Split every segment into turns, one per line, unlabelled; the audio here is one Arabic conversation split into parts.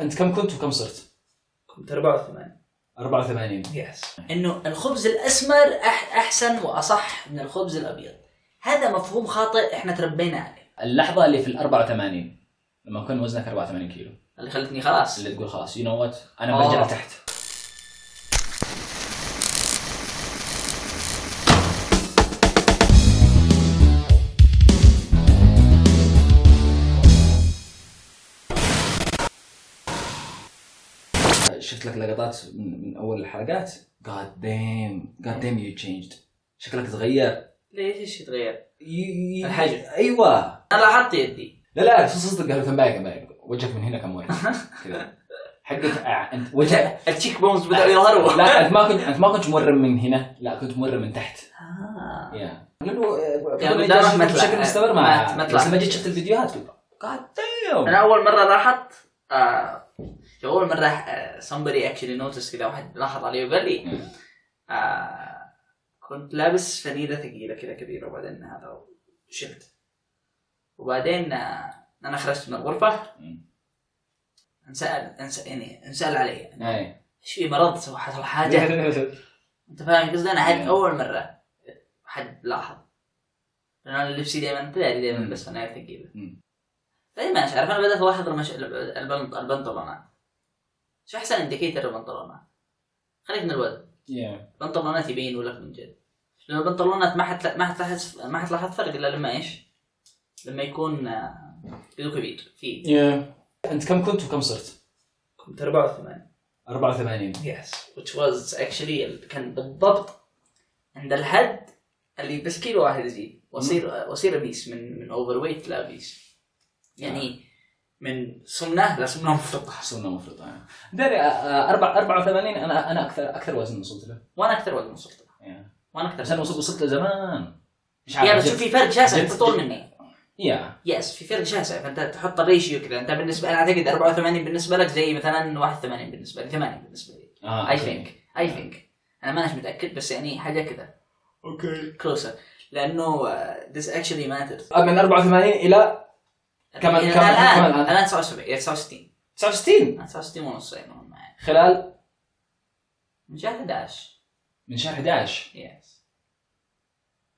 انت كم كنت وكم صرت؟
كنت 84
84
يس
انه الخبز الاسمر أح احسن واصح من الخبز الابيض هذا مفهوم خاطئ احنا تربينا عليه
اللحظه اللي في ال 84 لما كان وزنك 84 كيلو
اللي خلتني خلاص
اللي تقول خلاص يو نو وات انا
آه.
برجع لتحت
شفت لك لقطات من من اول الحلقات جاد ديم جاد ديم يو تشينجد شكلك تغير
ليش ايش يتغير؟
ي- ي-
الحجم.
ايوه
انا لاحظت يدي
لا لا صدق قالوا تنبايق تنبايق وجهك من هنا كم مره كذا حقك آه، انت وجهك
التشيك بونز بدأوا يظهروا
لا انت ما كنت انت ما كنت مورم من هنا لا كنت مورم من تحت
آه.
يا لانه آه،
يعني
بدون
بدأت
إجازة
ما تطلع.
بشكل مستمر
ما-
مع
ما
ما
تطلع.
بس لما جيت شفت الفيديوهات جاد ديم
انا اول مره لاحظت آه اول مره آه somebody actually noticed كذا واحد لاحظ علي وقال لي آه كنت لابس فنيله ثقيله كذا كبيره وبعدين هذا شلت وبعدين آه انا خرجت من الغرفه
مم.
انسال انسال يعني انسال علي
آه.
اي
ايش في مرض سوى حصل حاجه انت فاهم قصدي انا هذه
مم.
اول مره حد لاحظ لان انا لبسي دائما تدري دائما بس فنايل ثقيله
مم.
بعدين ما عارف انا بدات الاحظ المش... البنط... البنطلونات شو احسن انديكيتر البنطلونات خليك من الوزن
يا
البنطلونات يبين ولك من جد لان البنطلونات ما حتلا... ما حتلاحظ ما حتلاحظ فرق الا لما ايش؟ لما يكون آه، يدو كبير في
يا انت كم كنت وكم صرت؟
كنت 84
84
يس
which was actually كان بالضبط عند الحد اللي بس كيلو واحد يزيد واصير واصير ابيس من من اوفر ويت لابيس
آه.
يعني من سمنه لسمنه مفرطه
سنه مفرطه يعني.
آه. داري آه، 84 انا انا اكثر اكثر وزن وصلت له
وانا اكثر وزن وصلت له.
يا.
وانا اكثر
بس انا وصلت وصلت له زمان مش
يا بس
جد.
شوف في فرق شاسع
جد-
انت طول
جد.
مني
يا
يس في فرق شاسع فانت تحط الريشيو كذا انت بالنسبه انا اعتقد 84 بالنسبه لك زي مثلا 81 بالنسبه لي 80 بالنسبه لي
آه،
اي
أوكي.
ثينك اي ثينك انا ماناش متاكد بس يعني حاجه كذا
اوكي
كلوزر لانه ذس اكشلي ماترز
آه،
من 84 الى كمان- كمان-
يعني
كمان الآن.
الان الان 79 يا 69
69
أنا 69 ونص يعني مهم معي.
خلال
من شهر 11
من شهر 11
يس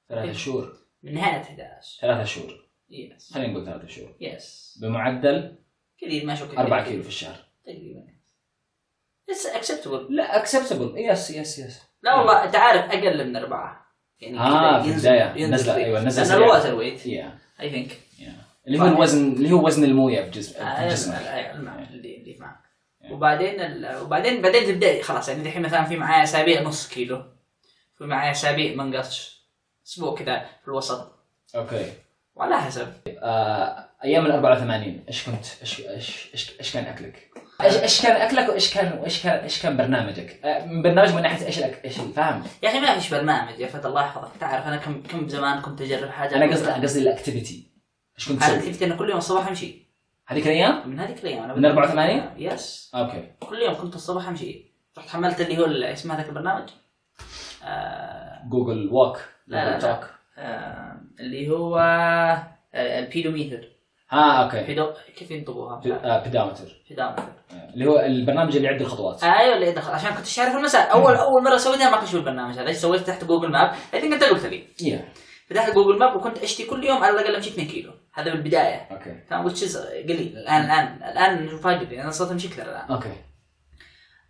ثلاثة شهور
من نهايه 11
ثلاثة شهور
يس
خلينا نقول ثلاثة شهور
يس
بمعدل
كثير ما شو كثير
4 كيلو في الشهر
تقريبا اتس اكسبتبل
لا اكسبتبل يس يس يس
لا والله انت عارف اقل من اربعه يعني
آه،
كذا
في البداية.
ينزل
نزلة،
ويت.
أيوة، نزلة
لأن
سريعة.
الوتر ويت
يا
اي ثينك
يا اللي هو الوزن اللي هو وزن المويه في جسم-
آه،
في جسمك
اللي اللي معك وبعدين ال... وبعدين بعدين تبدا خلاص يعني الحين مثلا في معايا اسابيع نص كيلو في معايا اسابيع ما نقصش اسبوع كذا في الوسط
اوكي
وعلى حسب
ايام ال 84 ايش كنت ايش ايش ايش ايش كان اكلك؟ ايش ايش كان اكلك وايش كان وايش كان ايش كان برنامجك؟ آه، من برنامج من ناحيه ايش الأك- ايش فاهم؟
يا اخي ما فيش برنامج يا فتى الله يحفظك تعرف انا كم كم زمان كنت اجرب حاجه
انا قصدي قصدي الاكتيفيتي ايش كنت
انا
تسوي؟
اكتشفت انه كل يوم الصباح امشي
هذيك الايام؟
من هذيك الايام أنا
من
بدأت-
84
يس
اوكي
كل يوم كنت الصباح امشي رحت حملت اللي هو ال- اسم هذاك البرنامج آه
جوجل ووك
لا، لا،
جوجل
لا.
توك
آه اللي هو آه البيدوميتر
ها اوكي
بيدو... كيف ينطقوها؟
بيدامتر
بيدوميتر
آه، اللي هو البرنامج اللي يعد الخطوات
ايوه اللي دخل عشان كنت عارف المسائل اول اول مره سويتها ما كنت أشوف البرنامج هذا سويت تحت جوجل ماب I think انت قلت لي
يا
فتحت جوجل ماب وكنت اشتري كل يوم على الاقل امشي 2 كيلو هذا بالبدايه
اوكي
كان which is قليل الان الان الان فاجئ انا صرت امشي اكثر الان
اوكي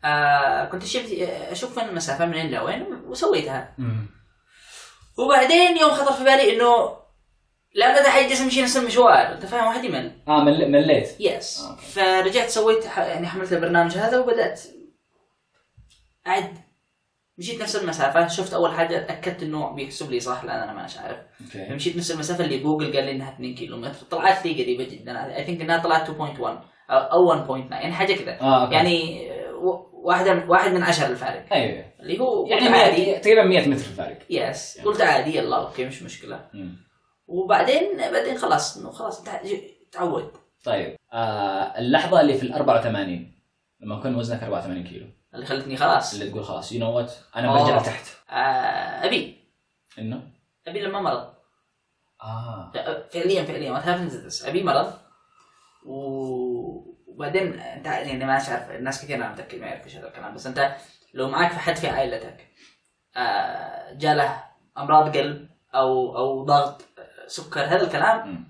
آه كنت اشوف اشوف وين المسافه من هنا لوين وسويتها
أمم.
وبعدين يوم خطر في بالي انه لا اتحجز امشي نفس المشوار انت فاهم واحد يمل
اه مل- مليت
يس
آه، أوكي.
فرجعت سويت ح- يعني حملت البرنامج هذا وبدات اعد مشيت نفس المسافه شفت اول حاجه اتاكدت انه بيحسب لي صح لان انا ما عارف
اوكي
مشيت نفس المسافه اللي جوجل قال لي انها 2 كيلو متر طلعت لي قريبه جدا اي ثينك انها طلعت 2.1 أو- او 1.9 يعني حاجه كذا
اه اوكي
يعني آه، و- واحده من واحد من عشر الفارق
ايوه
اللي هو
يعني
عادي
مية- تقريبا 100 متر الفارق
يس قلت عادي يلا اوكي مش مشكله
أمم.
وبعدين بعدين خلاص انه خلاص تعود
طيب آه اللحظه اللي في ال 84 لما كان وزنك 84 كيلو
اللي خلتني خلاص
اللي تقول خلاص يو نو وات انا
آه.
برجع لتحت
آه، ابي
انه
ابي لما مرض
اه
فعليا فعليا وات هابنز ابي مرض و وبعدين انت يعني ما عارف الناس كثير انا متاكد ما يعرفوا ايش هذا الكلام بس انت لو معك في حد في عائلتك آه، جاله امراض قلب او او ضغط آه، سكر هذا الكلام
مم.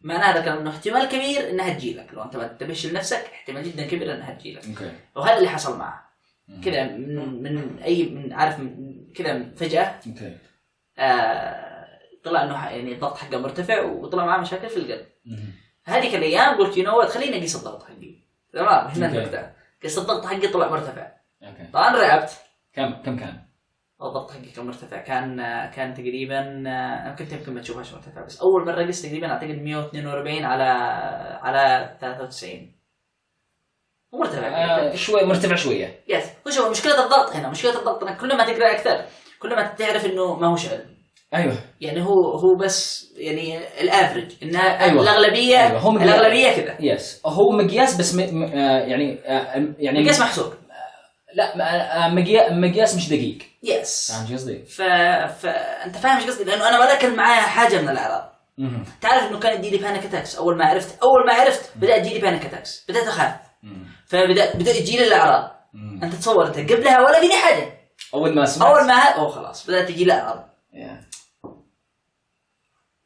معناه هذا الكلام انه احتمال كبير انها تجيلك لو انت ما تنتبهش لنفسك احتمال جدا كبير انها تجيلك
اوكي
وهذا اللي حصل معه
مم.
كذا من, من اي من عارف من كذا فجاه
اوكي
آه، طلع انه ح- يعني الضغط حقه مرتفع وطلع معاه مشاكل في القلب
مم.
هذيك الايام قلت يو نو خليني اقيس الضغط حقي تمام هنا
أوكي.
النكته قيس الضغط حقي طلع مرتفع
اوكي
طبعا رعبت
كم كم كان؟
الضغط حقي كان مرتفع كان آه، كان تقريبا انا كنت يمكن ما تشوفهاش مرتفع بس اول مره قست تقريبا اعتقد 142 على على 93 مو مرتفع
آه، شوي مرتفع شويه
يس هو شوف مشكله الضغط هنا مشكله الضغط انك كل ما تقرا اكثر كل ما تعرف انه ما هو شعر
ايوه
يعني هو هو بس يعني الافرج انها
أيوة.
الاغلبيه
أيوة، هم-
الاغلبيه كذا
يس هو مقياس بس م... م... آه، يعني آه، يعني
القياس محسوب
لا م- آه، مقيا- مقياس مش دقيق
يس
فاهم شو قصدي؟
ف... فانت فاهم ايش قصدي لانه انا ولا كان معايا حاجه من الاعراض
مهم.
تعرف انه كان يجيلي بانيك اتاكس اول ما عرفت اول ما عرفت بدا يجيلي بانيك اتاكس بدات اخاف
مم.
فبدا بدا يجيلي الاعراض
مم.
انت تصور انت قبلها ولا فيني حاجه
اول ما سمعت
اول ما اوه خلاص بدات تجي لي اعراض
يا.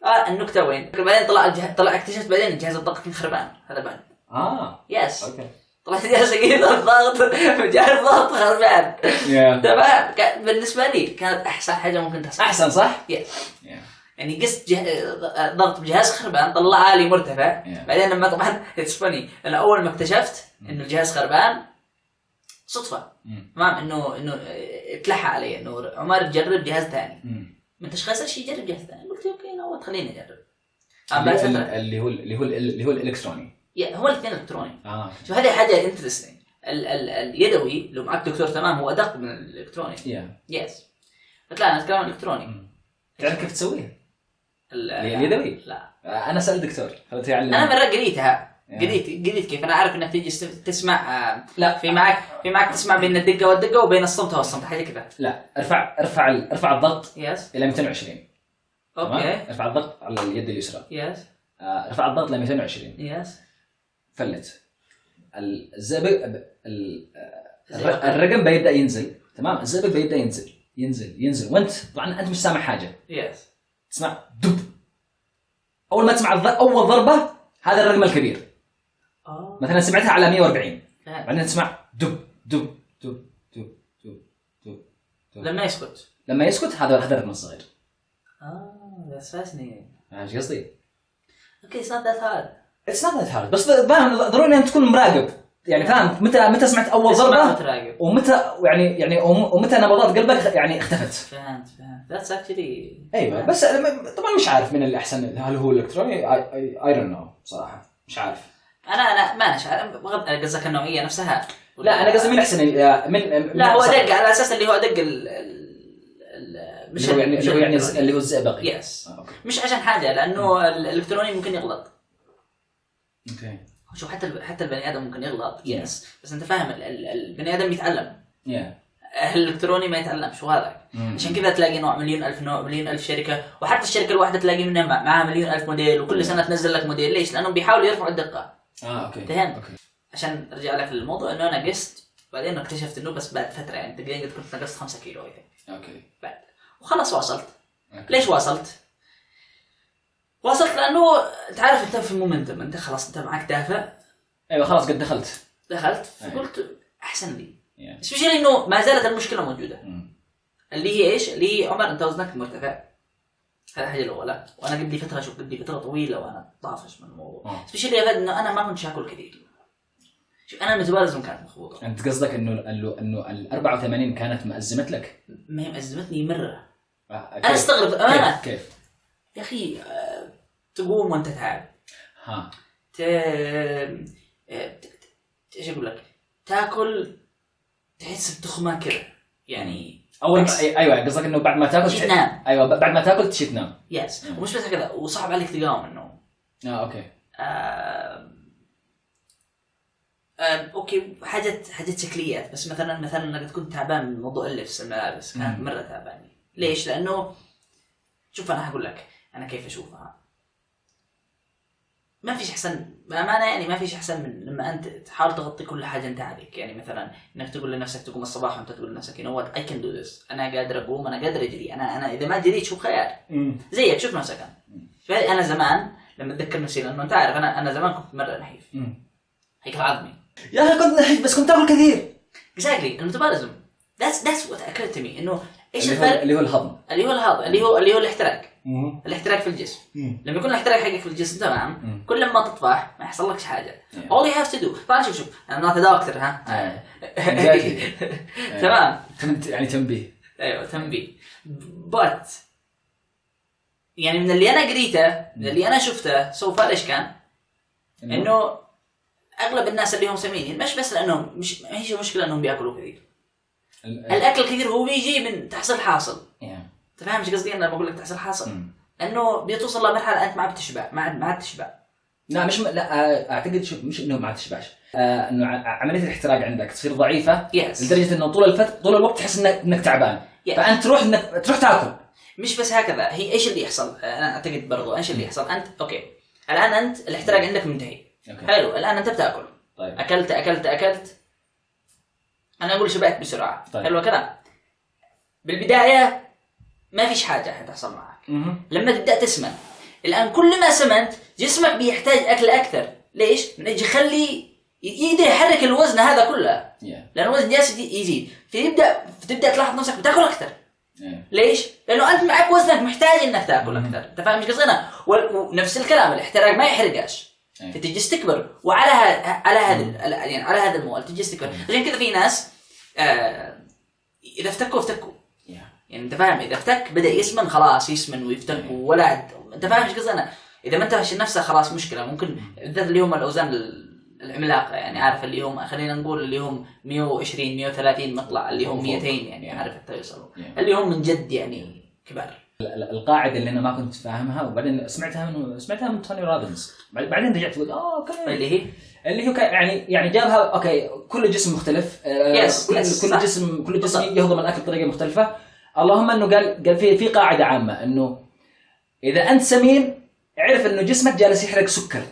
آه النكته وين بعدين طلع الجه... طلع اكتشفت بعدين إن جهاز الضغط كان خربان هذا بان
اه
يس
اوكي
طلعت جهاز الضغط جهاز الضغط خربان تمام كان- بالنسبه لي كانت احسن حاجه ممكن تحصل
احسن صح؟
يس
يا.
يعني قست جه... ضغط بجهاز خربان طلع لي مرتفع
Yeah.
بعدين لما طبعا اتس فاني انا اول ما اكتشفت انه الجهاز خربان صدفه
مم.
تمام انه انه آه، اتلحى علي انه عمر جرب جهاز ثاني
مم.
ما انتش خاسر شيء جرب جهاز ثاني قلت اوكي انا اول خليني اجرب آه، بعد
ال-
فتره
اللي هو اللي هو اللي هو الالكتروني
يا، هو الاثنين الكتروني
آه.
اه
شوف هذه حاجه انترستنج اليدوي لو معك دكتور تمام هو ادق من الالكتروني
يا
يس فطلع انا اتكلم عن الالكتروني
تعرف كيف تسويها؟
ال-
اليدوي؟
لا
آه، انا سال دكتور هل تعلم
انا مره قريتها
يا.
قريت قريت كيف انا عارف انك تيجي است- تسمع آه، لا في معك في معك تسمع بين الدقه والدقه وبين الصمت والصمت حاجه كذا
لا ارفع ارفع ال- ارفع الضغط
يس
الى 220 تمام؟
اوكي
ارفع الضغط على اليد اليسرى
يس
آه، ارفع الضغط الى 220
يس
فلت ال- الزئبق ال- آه،
الزئبق.
الرقم بيبدا ينزل تمام الزئبق بيبدا ينزل ينزل ينزل وانت طبعا انت مش سامع حاجه
يس
تسمع دب اول ما تسمع الض- اول ضربه هذا الرقم الكبير
آه.
مثلا سمعتها على 140
فهمت.
بعدين تسمع دب دب دب دب دب دب
لما يسكت
لما يسكت هذا هذا الرقم الصغير
اه ذاتس فاسنينج
فاهم ايش قصدي؟
اوكي اتس نوت ذات هارد
اتس نوت ذات هارد بس فاهم ضروري ان تكون مراقب يعني فاهم متى متى سمعت اول ضربه
متراقب
ومتى يعني يعني وم- ومتى نبضات قلبك يعني اختفت
فهمت فهمت ذاتس اكشلي
ايوه بس أنا م- طبعا مش عارف من الاحسن هل هو الكتروني اي دونت نو بصراحه مش عارف
انا انا ما انا شعر بغض انا قصدك النوعيه نفسها
لا انا قصدي من احسن من من-
لا هو
صح.
ادق على اساس اللي هو ادق ال ال-
اللي هو يعني اللي هو يعني الز- اللي هو الزئبقي
يس
آه، أوكي.
مش عشان حاجه لانه الالكتروني ممكن يغلط
آه،
اوكي
شوف حتى الب... حتى البني ادم ممكن يغلط يس بس انت فاهم ال... ال... البني ادم يتعلم
يا.
الالكتروني ما يتعلمش وهذا
مم.
عشان كذا تلاقي نوع مليون الف نوع مليون الف شركه وحتى الشركه الواحده تلاقي منها مع- معها مليون الف موديل وكل سنه تنزل لك موديل ليش؟ لانهم بيحاولوا يرفعوا الدقه
آه،
اه اوكي
فهمت.
اوكي
عشان ارجع لك للموضوع انه انا قست بعدين اكتشفت انه بس بعد فتره يعني تقريبا كنت نقصت 5 كيلو I think.
اوكي
بعد وخلاص واصلت
أوكي.
ليش واصلت؟ واصلت لانه تعرف انت في مومنتم انت خلاص انت معك دافع
ايوه خلاص قد دخلت
دخلت
أي.
فقلت احسن لي
يا.
سبيشالي انه ما زالت المشكله موجوده
مم.
اللي هي ايش؟ اللي هي عمر انت وزنك مرتفع هذه الحاجه الاولى وانا قبل لي فتره شوف قبل لي فتره طويله وانا طافش من الموضوع
آه.
سبيشالي يا غد انه انا ما كنت شاكل كثير شوف انا الميتابوليزم كانت مخبوطه
انت قصدك انه انه انه ال 84 كانت مأزمت لك
ما هي ازمتني مره
آه، كيف؟
انا استغرب امانه
كيف كيف
آه. يا اخي آه، تقوم وانت تعب
ها
ت... آه، ت- ت- ايش اقول لك؟ تاكل تحس بتخمه كذا يعني
اول
بس.
ما أي- ايوه قصدك انه بعد ما تاكل
تجي
تح-
تنام.
ايوه ب- بعد ما تاكل تشي تنام
يس
مم.
ومش بس كذا وصعب عليك تقاوم النوم
اه اوكي
آه، اوكي حاجات حاجات شكليات بس مثلا مثلا انا قد كنت تعبان من موضوع اللبس الملابس كانت
مم.
مره تعبان ليش؟ لانه شوف انا هقول لك انا كيف اشوفها ما فيش احسن بامانه يعني ما فيش احسن من لما انت تحاول تغطي كل حاجه انت عليك يعني مثلا انك تقول لنفسك تقوم الصباح وانت تقول لنفسك يو وات اي كان دو ذس انا قادر اقوم انا قادر اجري انا انا اذا ما جريت شوف خيال زيك شوف نفسك انا فهذه انا زمان لما اتذكر نفسي لانه انت عارف انا انا زمان كنت مره نحيف هيكل عظمي
يا اخي كنت نحيف بس كنت اكل كثير
اكزاكتلي الميتابوليزم ذاتس ذاتس وات اكلت مي انه ايش
اللي هو-
الفرق
اللي هو الهضم
اللي هو الهضم اللي هو اللي هو الاحتراق الاحتراق في الجسم لما يكون الاحتراق حقك في الجسم تمام
مم.
كل ما تطفح ما يحصل لكش حاجه
Yeah.
آه.
اول يو هاف تو دو طبعا شوف شوف انا ما اتداوى اكثر ها
آه. Exactly.
آه.
إيه.
تمام
تم- يعني تنبيه
ايوه تنبيه بات يعني من اللي انا قريته من اللي انا شفته سو فار ايش كان؟ انه اغلب الناس اللي هم سمينين مش بس لانهم مش ما هيش مشكله انهم بياكلوا كثير
ال- ال-
إيه.
الاكل الكثير هو بيجي من تحصيل حاصل
يعني.
انت فاهم ايش قصدي انا بقول لك تحصيل حاصل
مم.
انه بتوصل لمرحله انت ما عاد تشبع ما عاد ما عاد تشبع
لا مش لا آه، اعتقد شوف مش انه ما تشبعش آه، انه ع- عمليه الاحتراق عندك تصير ضعيفه
يس
لدرجه انه طول الفت طول الوقت تحس انك انك تعبان
Yeah.
فانت تروح انك تروح تاكل
مش بس هكذا هي ايش اللي يحصل انا اعتقد برضو ايش اللي يحصل انت اوكي الان انت الاحتراق عندك منتهي
اوكي
حلو الان انت بتاكل
طيب
اكلت اكلت اكلت انا اقول شبعت بسرعه
طيب.
حلو الكلام بالبدايه ما فيش حاجه حتحصل معك لما تبدا تسمن الان كل ما سمنت جسمك بيحتاج اكل اكثر ليش؟ من اجل يخلي يقدر يحرك الوزن هذا كله
Yeah.
لان الوزن جالس يزي- يزيد فيبدا تبدا تلاحظ نفسك بتاكل اكثر
Yeah.
ليش؟ لانه انت معك وزنك محتاج انك تاكل اكثر، انت فاهم ايش قصدي انا؟ وال- ونفس الكلام الاحتراق ما يحرقش
أي.
فتجلس تكبر وعلى ها... على هذا على- يعني على هذا الموال تجلس تكبر، عشان كذا في ناس آه... اذا افتكوا افتكوا
Yeah.
يعني انت فاهم اذا افتك بدا يسمن خلاص يسمن ويفتك
إيه.
ولا عاد- انت فاهم ايش قصدي انا؟ اذا ما انتهش نفسه خلاص مشكله ممكن بالذات اللي هم الاوزان ال- العملاقه يعني عارف اللي هم خلينا نقول اللي هم 120 130 مطلع اللي هم 200 يعني عارف حتى يوصلوا
Yeah.
اللي هم من جد يعني كبار
ال- القاعده اللي انا ما كنت فاهمها وبعدين سمعتها من سمعتها من توني رابنز بعد- بعدين رجعت قلت اه اوكي
اللي هي
اللي هو كان يعني يعني جابها اوكي كل جسم مختلف آه،
Yes,
كل
yes,
كل
صح.
جسم كل جسم
بالضبط.
يهضم الاكل بطريقه مختلفه اللهم انه قال قال في في قاعده عامه انه اذا انت سمين اعرف انه جسمك جالس يحرق سكر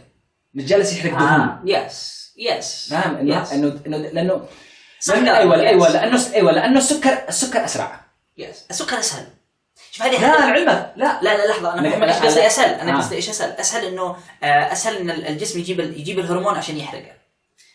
مش جالس يحرق
آه.
دهون
يس يس
فاهم انه
يس
انه نعم، إنه- لانه
صح
لانه
كلام.
ايوه
Yes.
ايوه لانه ايوه لانه السكر السكر اسرع
يس السكر اسهل شوف هذه
لا
حاجة-
لعلمك لا
لا لا لحظه انا
لا،
فاهم ايش
لا،
قصدي
لا.
اسهل انا
آه.
قصدي ايش اسهل اسهل انه آه، اسهل ان ال- الجسم يجيب ال- يجيب الهرمون عشان يحرقه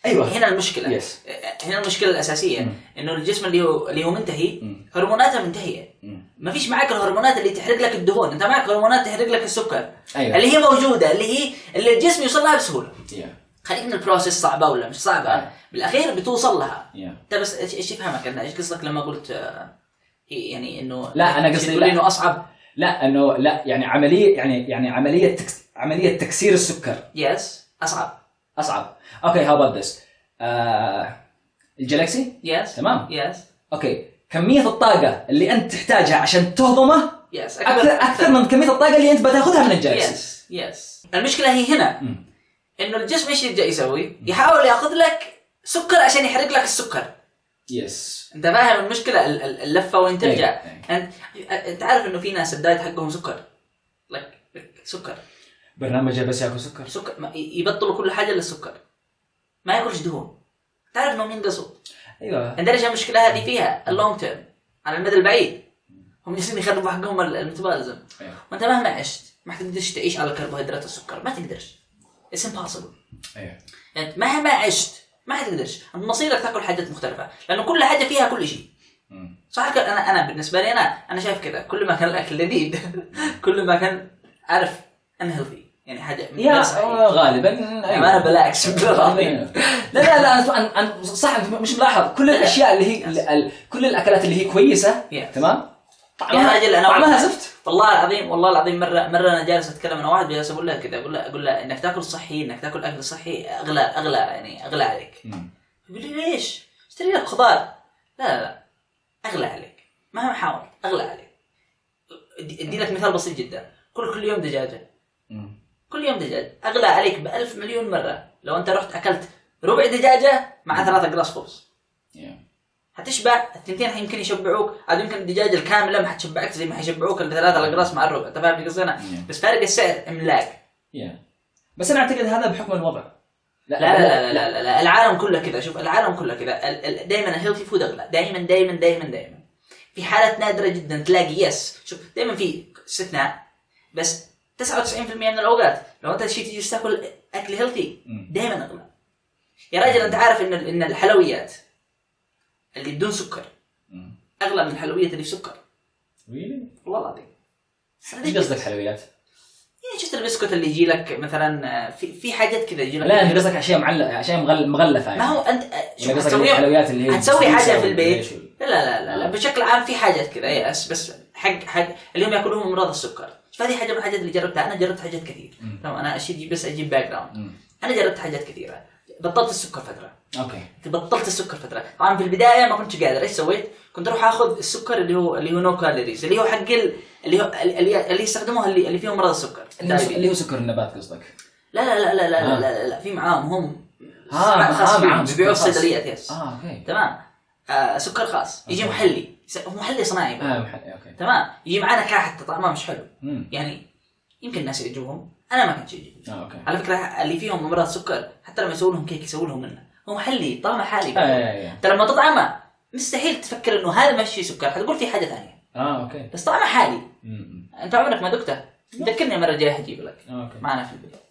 ايوه
يعني هنا المشكله
Yes.
آه، هنا المشكله الاساسيه
مم.
انه الجسم اللي هو اللي هو منتهي
مم.
هرموناته منتهيه
مم.
ما فيش معاك الهرمونات اللي تحرق لك الدهون انت معك هرمونات تحرق لك السكر
ايوه
اللي هي موجوده اللي هي اللي الجسم يوصل لها بسهوله
يا
خليك من البروسيس صعبه ولا مش صعبه
آه.
بالاخير بتوصل لها
يا
انت بس ايش ايش يفهمك انا ايش قصدك لما قلت آه، هي يعني انه
لا، أنا قصدي
تقول
لا.
انه اصعب
لا انه لا يعني عمليه يعني يعني عمليه تكس عمليه تكسير السكر
يس اصعب
اصعب اوكي هاو اباوت ذس آه، الجلاكسي
يس
تمام.
يس
اوكي كميه الطاقه اللي انت تحتاجها عشان تهضمه
يس
اكثر اكثر من كميه الطاقه اللي انت بتاخذها من الجلاكسي
يس يس المشكله هي هنا
مم.
انه الجسم ايش يبدا يسوي؟ يحاول ياخذ لك سكر عشان يحرق لك السكر
يس
انت فاهم المشكله ال- ال- اللفه وين ترجع
أي.
انت انت عارف انه في ناس الدايت حقهم سكر لك لك سكر
برنامجه بس ياكل سكر
سكر ما- يبطلوا كل حاجه الا السكر ما ياكلش دهون تعرف انهم ينقصوا
ايوه
عندنا المشكله هذه فيها اللونج تيرم على المدى البعيد هم جالسين يخربوا حقهم ال- الميتابوليزم
أيوه.
وانت مهما عشت ما تقدرش تعيش على الكربوهيدرات والسكر ما تقدرش اتس امبوسيبل
ايوه
يعني مهما عشت ما حتقدرش انت مصيرك تاكل حاجات مختلفه لانه كل حاجه فيها كل شيء
مم.
صح كده؟ انا انا بالنسبه لي انا انا شايف كذا كل ما كان الاكل لذيذ كل ما كان عارف انهيلثي يعني حاجه
يا
غير صحية.
آه، غالبا
يعني انا بالعكس بالله العظيم
أيوة. لا لا لا أنا- أنا- أنا صح أنت مش ملاحظ كل الاشياء اللي هي ال- ال- كل الاكلات اللي هي كويسه
Yes.
تمام
طيب، يا رجل انا
طعمها زفت
والله العظيم والله العظيم مره مره انا جالس اتكلم انا واحد جالس اقول له كذا اقول له اقول له انك تاكل صحي انك تاكل اكل صحي اغلى اغلى يعني اغلى عليك يقول لي ليش؟ اشتري لك خضار لا لا لا اغلى عليك مهما حاولت اغلى عليك ادي أدي لك مثال بسيط جدا كل كل يوم دجاجه
مم.
كل يوم دجاج اغلى عليك بألف مليون مره لو انت رحت اكلت ربع دجاجه مع ثلاثة اقراص خبز
Yeah.
حتشبع الثنتين يمكن يشبعوك عاد يمكن الدجاجه الكامله ما حتشبعك زي ما حيشبعوك الثلاثه الاقراص مع الربع انت فاهم قصدي انا
Yeah.
بس فارق السعر املاك
Yeah. بس انا اعتقد هذا بحكم الوضع
لا لا لا لا, لا, لا. العالم كله كذا شوف العالم كله كذا دائما الهيلثي فود اغلى دائما دائما دائما دائما في حالات نادره جدا تلاقي يس شوف دائما في استثناء بس 99% من الاوقات لو انت شيء تجي تاكل اكل هيلثي
مم.
دائما اغلى يا راجل انت عارف ان ان الحلويات اللي بدون سكر
مم.
اغلى من الحلويات اللي بسكر
Really؟
والله العظيم
ايش قصدك حلويات؟
يعني شفت البسكوت اللي يجي لك مثلا في في حاجات كذا يجي لك
لا انت قصدك اشياء معلقه اشياء مغل- مغلفه يعني
ما هو انت
يعني
شوف
قصدك
تسويهم
الحلويات اللي هي
هتسوي حاجة في البيت.
والبيش وال-
لا لا لا, لا بشكل عام في حاجات كذا يأس بس حق حق اليوم ياكلوهم امراض السكر فهذه حاجه من الحاجات اللي جربتها انا جربت حاجات كثير
مم.
تمام انا اشيل بس اجيب باك جراوند
مم.
انا جربت حاجات كثيره بطلت السكر فتره
اوكي
بطلت السكر فتره طبعا في البدايه ما كنتش قادر ايش سويت كنت اروح اخذ السكر اللي هو اللي هو نو كالوريز اللي هو حق ال- اللي هو اللي, اللي يستخدموها اللي, اللي فيهم مرض السكر
اللي هو س- اللي هو سكر النبات قصدك
لا لا لا لا لا, لا,
آه.
لا, لا, لا في معاهم هم
آه،
خاص
معاهم
فيهم
سكر
بيبيعوه في
خاص.
الصيدليات يس
اه اوكي
تمام آه سكر خاص يجي
أوكي.
محلي يس- هو محلي صناعي بقى.
اه محل اوكي
تمام يجي معانا كحه حتى طعمها مش حلو
مم.
يعني يمكن الناس يعجبهم انا ما كنت يعجبني
اه اوكي
على فكره اللي فيهم امراض سكر حتى لما يسوون لهم كيك يسوون لهم منه هو محلي طعمه حالي
آه، يا- يا.
انت لما تطعمه مستحيل تفكر انه هذا مش شيء سكر حتقول في حاجه ثانيه
اه اوكي
بس طعمه حالي
مم.
انت عمرك ما ذقته ذكرني المره الجايه حجيب لك
آه، اوكي
معنا في البدايه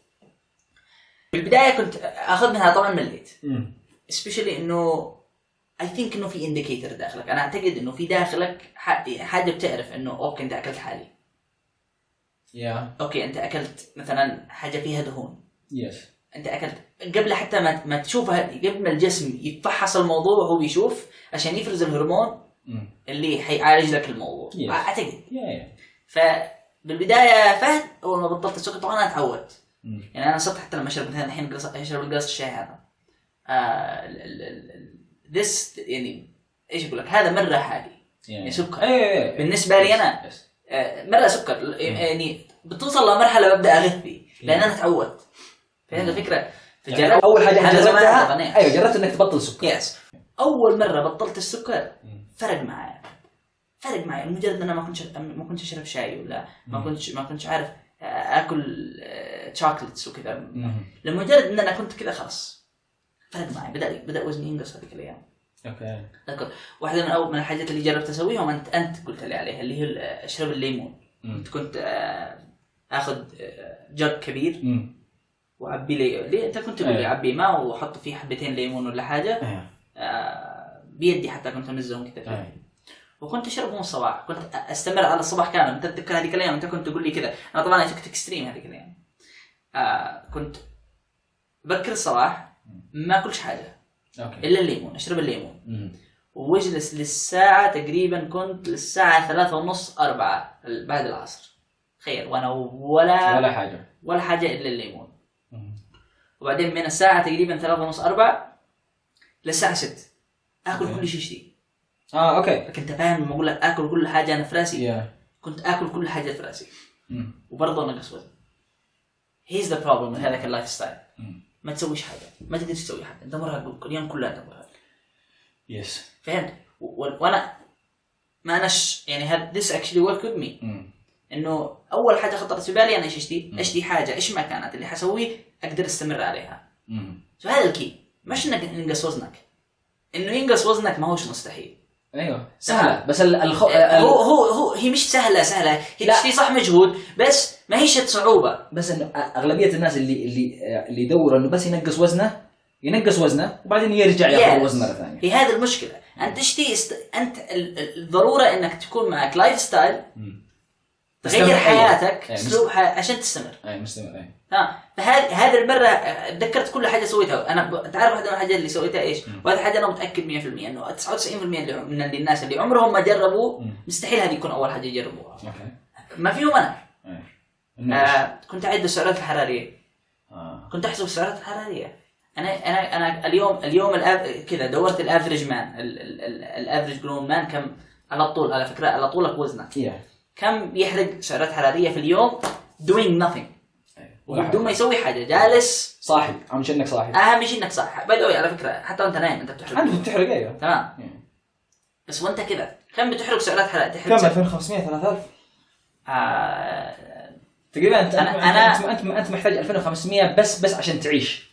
في البدايه كنت اخذ منها طبعا مليت
مم.
سبيشلي انه اي ثينك انه في انديكيتر داخلك انا اعتقد انه في داخلك ح- حاجه بتعرف انه اوكي انت اكلت حالي
يا
اوكي انت اكلت مثلا حاجه فيها دهون
يس
انت اكلت قبل حتى ما ما تشوفها قبل ما الجسم يتفحص الموضوع هو بيشوف عشان يفرز الهرمون
مم.
اللي حيعالج لك الموضوع
Yes.
اعتقد
يا يا
فبالبدايه فهد اول ما بطلت السكر طبعا انا تعودت
مم.
يعني انا صرت حتى لما اشرب مثلا الحين قص- اشرب القص الشاي هذا آه ال- ال- ال- ال- this يعني ايش اقول لك هذا مره حالي
يا
يعني
يا.
سكر.
إيه، إيه، إيه.
بالنسبه لي انا
يس.
آه، مرة سكر يعني بتوصل لمرحلة ببدا اغث فيه لان انا تعودت فهمت الفكرة؟
يعني اول حاجه أنت
هذا زمان
جربتها
طبعاً،
ايوه جربت انك تبطل سكر
يس اول مرة بطلت السكر
مم.
فرق معايا فرق معايا يعني مجرد ان انا ما كنتش ما كنتش اشرب شاي ولا ما
مم.
كنتش ما كنتش عارف آه، اكل شوكلتس وكذا
مم.
لمجرد ان انا كنت كذا خلاص فرق معي بدا بدا وزني ينقص هذيك الايام
اوكي
اذكر واحده من اول من الحاجات اللي جربت اسويهم انت انت قلت لي عليها اللي هي ال- اشرب الليمون
مم.
كنت كنت آه، اخذ آه، جر كبير
مم.
واعبي لي ليه انت كنت تقول لي
أيوة.
اعبي ماء واحط فيه حبتين ليمون ولا حاجه
إيه،
آه، بيدي حتى كنت امزهم كذا فيه.
إيه.
وكنت اشربهم الصباح كنت أ- استمر على الصباح كامل انت تتذكر هذيك الايام انت كنت تقول لي كذا انا طبعا كنت اكستريم هذيك الايام آه، كنت بكر الصباح ما اكلش حاجه
اوكي
الا الليمون اشرب الليمون
مم.
واجلس للساعة تقريبا كنت للساعة ثلاثة ونص أربعة بعد العصر تخيل وأنا ولا
ولا Mm. حاجه
ولا حاجة إلا الليمون
مم.
وبعدين من الساعة تقريبا ثلاثة ونص أربعة للساعة ست آكل
مم.
كل شيء شتي
اه اوكي
لكن أنت فاهم لما أقول لك آكل كل حاجة أنا في راسي
يا
كنت آكل كل حاجة في راسي
مم.
وبرضه نقص وزن هيز ذا بروبلم من هذاك اللايف ستايل
مم.
ما تسويش حاجة ما تقدر تسوي حاجة أنت مرهق اليوم كله أنت مرهق
يس
فهمت و- و- وأنا ما أناش يعني هاد this actually worked with me
مم.
انه اول حاجه خطرت في بالي انا ايش اشتي؟ اشتي حاجه ايش ما كانت اللي حسويه اقدر استمر عليها.
مم.
فهذا الكي مش انك ينقص وزنك. انه ينقص وزنك ما هوش مستحيل.
ايوه سهله بس ال- الخو... ال-
هو هو هو هي مش سهله سهله، هي
لا.
تشتي صح مجهود بس ما هيش صعوبه.
بس انه اغلبيه الناس اللي اللي اللي يدوروا انه بس ينقص وزنه ينقص وزنه وبعدين يرجع ياخذ
Yes.
وزن مره ثانيه
هي هذه المشكله، انت تشتي است... انت ال- ال- الضروره انك تكون معك لايف ستايل
Mm. مستمر-
تغير حياتك
أيوة.
اسلوب حي... عشان تستمر.
اي مستمر أيوة. اي
ها فهذه هذه المره آه، تذكرت كل حاجه سويتها انا ب- تعرف واحده من الحاجات اللي سويتها ايش؟
مم.
وهذه حاجه انا متاكد 100% انه 99% اللي- من اللي- الناس اللي عمرهم ما جربوا
مم.
مستحيل هذه يكون اول حاجه يجربوها
اوكي
ما فيهم انا
إيه. إنه إيش؟
آه كنت اعد السعرات الحراريه
آه.
كنت احسب السعرات الحراريه انا انا انا اليوم اليوم الآف- كذا دورت الافرج مان الافرج جرون مان كم على طول على فكره على طولك وزنك
يا
كم يحرق سعرات حراريه في اليوم doing nothing
إيه.
بدون ما يسوي حاجه جالس
صاحي اهم شيء انك صاحي
اهم شيء انك صح باي ذا واي على فكره حتى وانت نايم انت بتحرق
انت بتحرق ايوه
تمام
إيه.
بس وانت كذا كم بتحرق سعرات حراريه
كم
تحرق
2500 3000
آه،
تقريبا انت
أنا- أنا-
انت انت, أنت محتاج 2500 بس بس عشان تعيش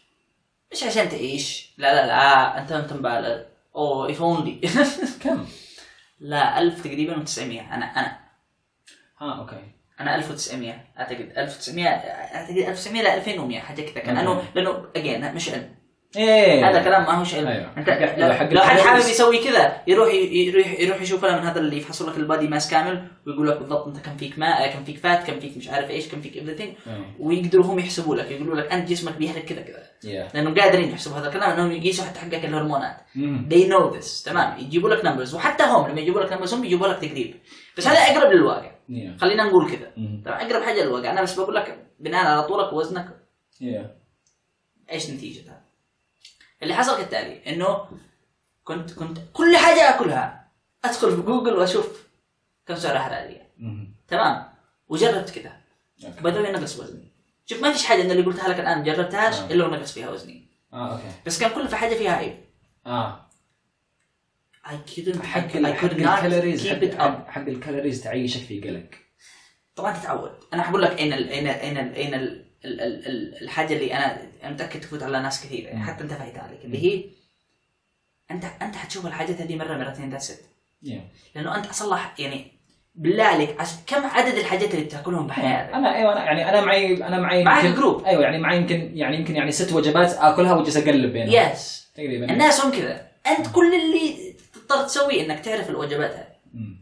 مش عشان تعيش لا لا لا انت انت مبالغ Oh، او اف اونلي
كم؟
لا 1000 تقريبا و900 انا انا
اه اوكي
انا 1900 اعتقد 1900 اعتقد 1900 ل 2100 حاجه كذا كان
مم.
لانه لانه اجين مش علم
ايه
هذا كلام ما هوش علم
أيوة.
انت
حق-
لو-
حق
لو حد حابب
الفلوس.
يسوي كذا يروح يروح يروح يشوف فيلم من هذا اللي يفحصوا لك البادي ماس كامل ويقول لك بالضبط انت كم فيك ماء كم فيك فات كم فيك مش عارف ايش كم فيك ايفريثينج
إيه.
ويقدروا هم يحسبوا لك يقولوا لك انت جسمك بيحرق كذا كذا
Yeah.
لانهم قادرين يحسبوا هذا الكلام انهم يقيسوا حتى حقك الهرمونات
مم.
they know this تمام يجيبوا لك نمبرز وحتى هم لما يجيبوا لك نمبرز هم بيجيبوا لك تقريب بس هذا اقرب للواقع
Yeah.
خلينا نقول كذا
مم.
ترى اقرب حاجه للواقع انا بس بقول لك بناء على طولك ووزنك
Yeah.
ايش نتيجتها اللي حصل كالتالي انه كنت كنت كل حاجه اكلها ادخل في جوجل واشوف كم سعرها حراريه
مم.
تمام وجربت كذا
Okay.
بدوي نقص وزني شوف ما فيش حاجه من اللي قلتها لك الان جربتهاش
آه.
الا ونقص فيها وزني
اه اوكي
بس كان كل في حاجه فيها عيب
اه
I couldn't
حق
I
حق
could not
الكالوريز
keep it
حق-
up
حق- حق الكالوريز تعيشك في قلق
طبعا تتعود انا حقول لك اين ال اين ال اين ال اين ال ال ال ال الحاجه اللي انا أنا متاكد تفوت على ناس كثير يعني
مم.
حتى انت فايت عليك اللي هي انت انت حتشوف الحاجات هذه مره مرتين ذاتس ات
Yeah.
لانه انت اصلا يعني بالله عليك عش- كم عدد الحاجات اللي بتاكلهم بحياتك؟
انا ايوه أنا يعني انا معي انا معي
معك
يمكن-
جروب.
ايوه يعني معي يمكن يعني يمكن يعني ست وجبات اكلها واجلس اقلب بينها
يس
تقريبا
الناس هم كذا انت كل اللي تضطر تسويه انك تعرف الوجبات هذه
مم.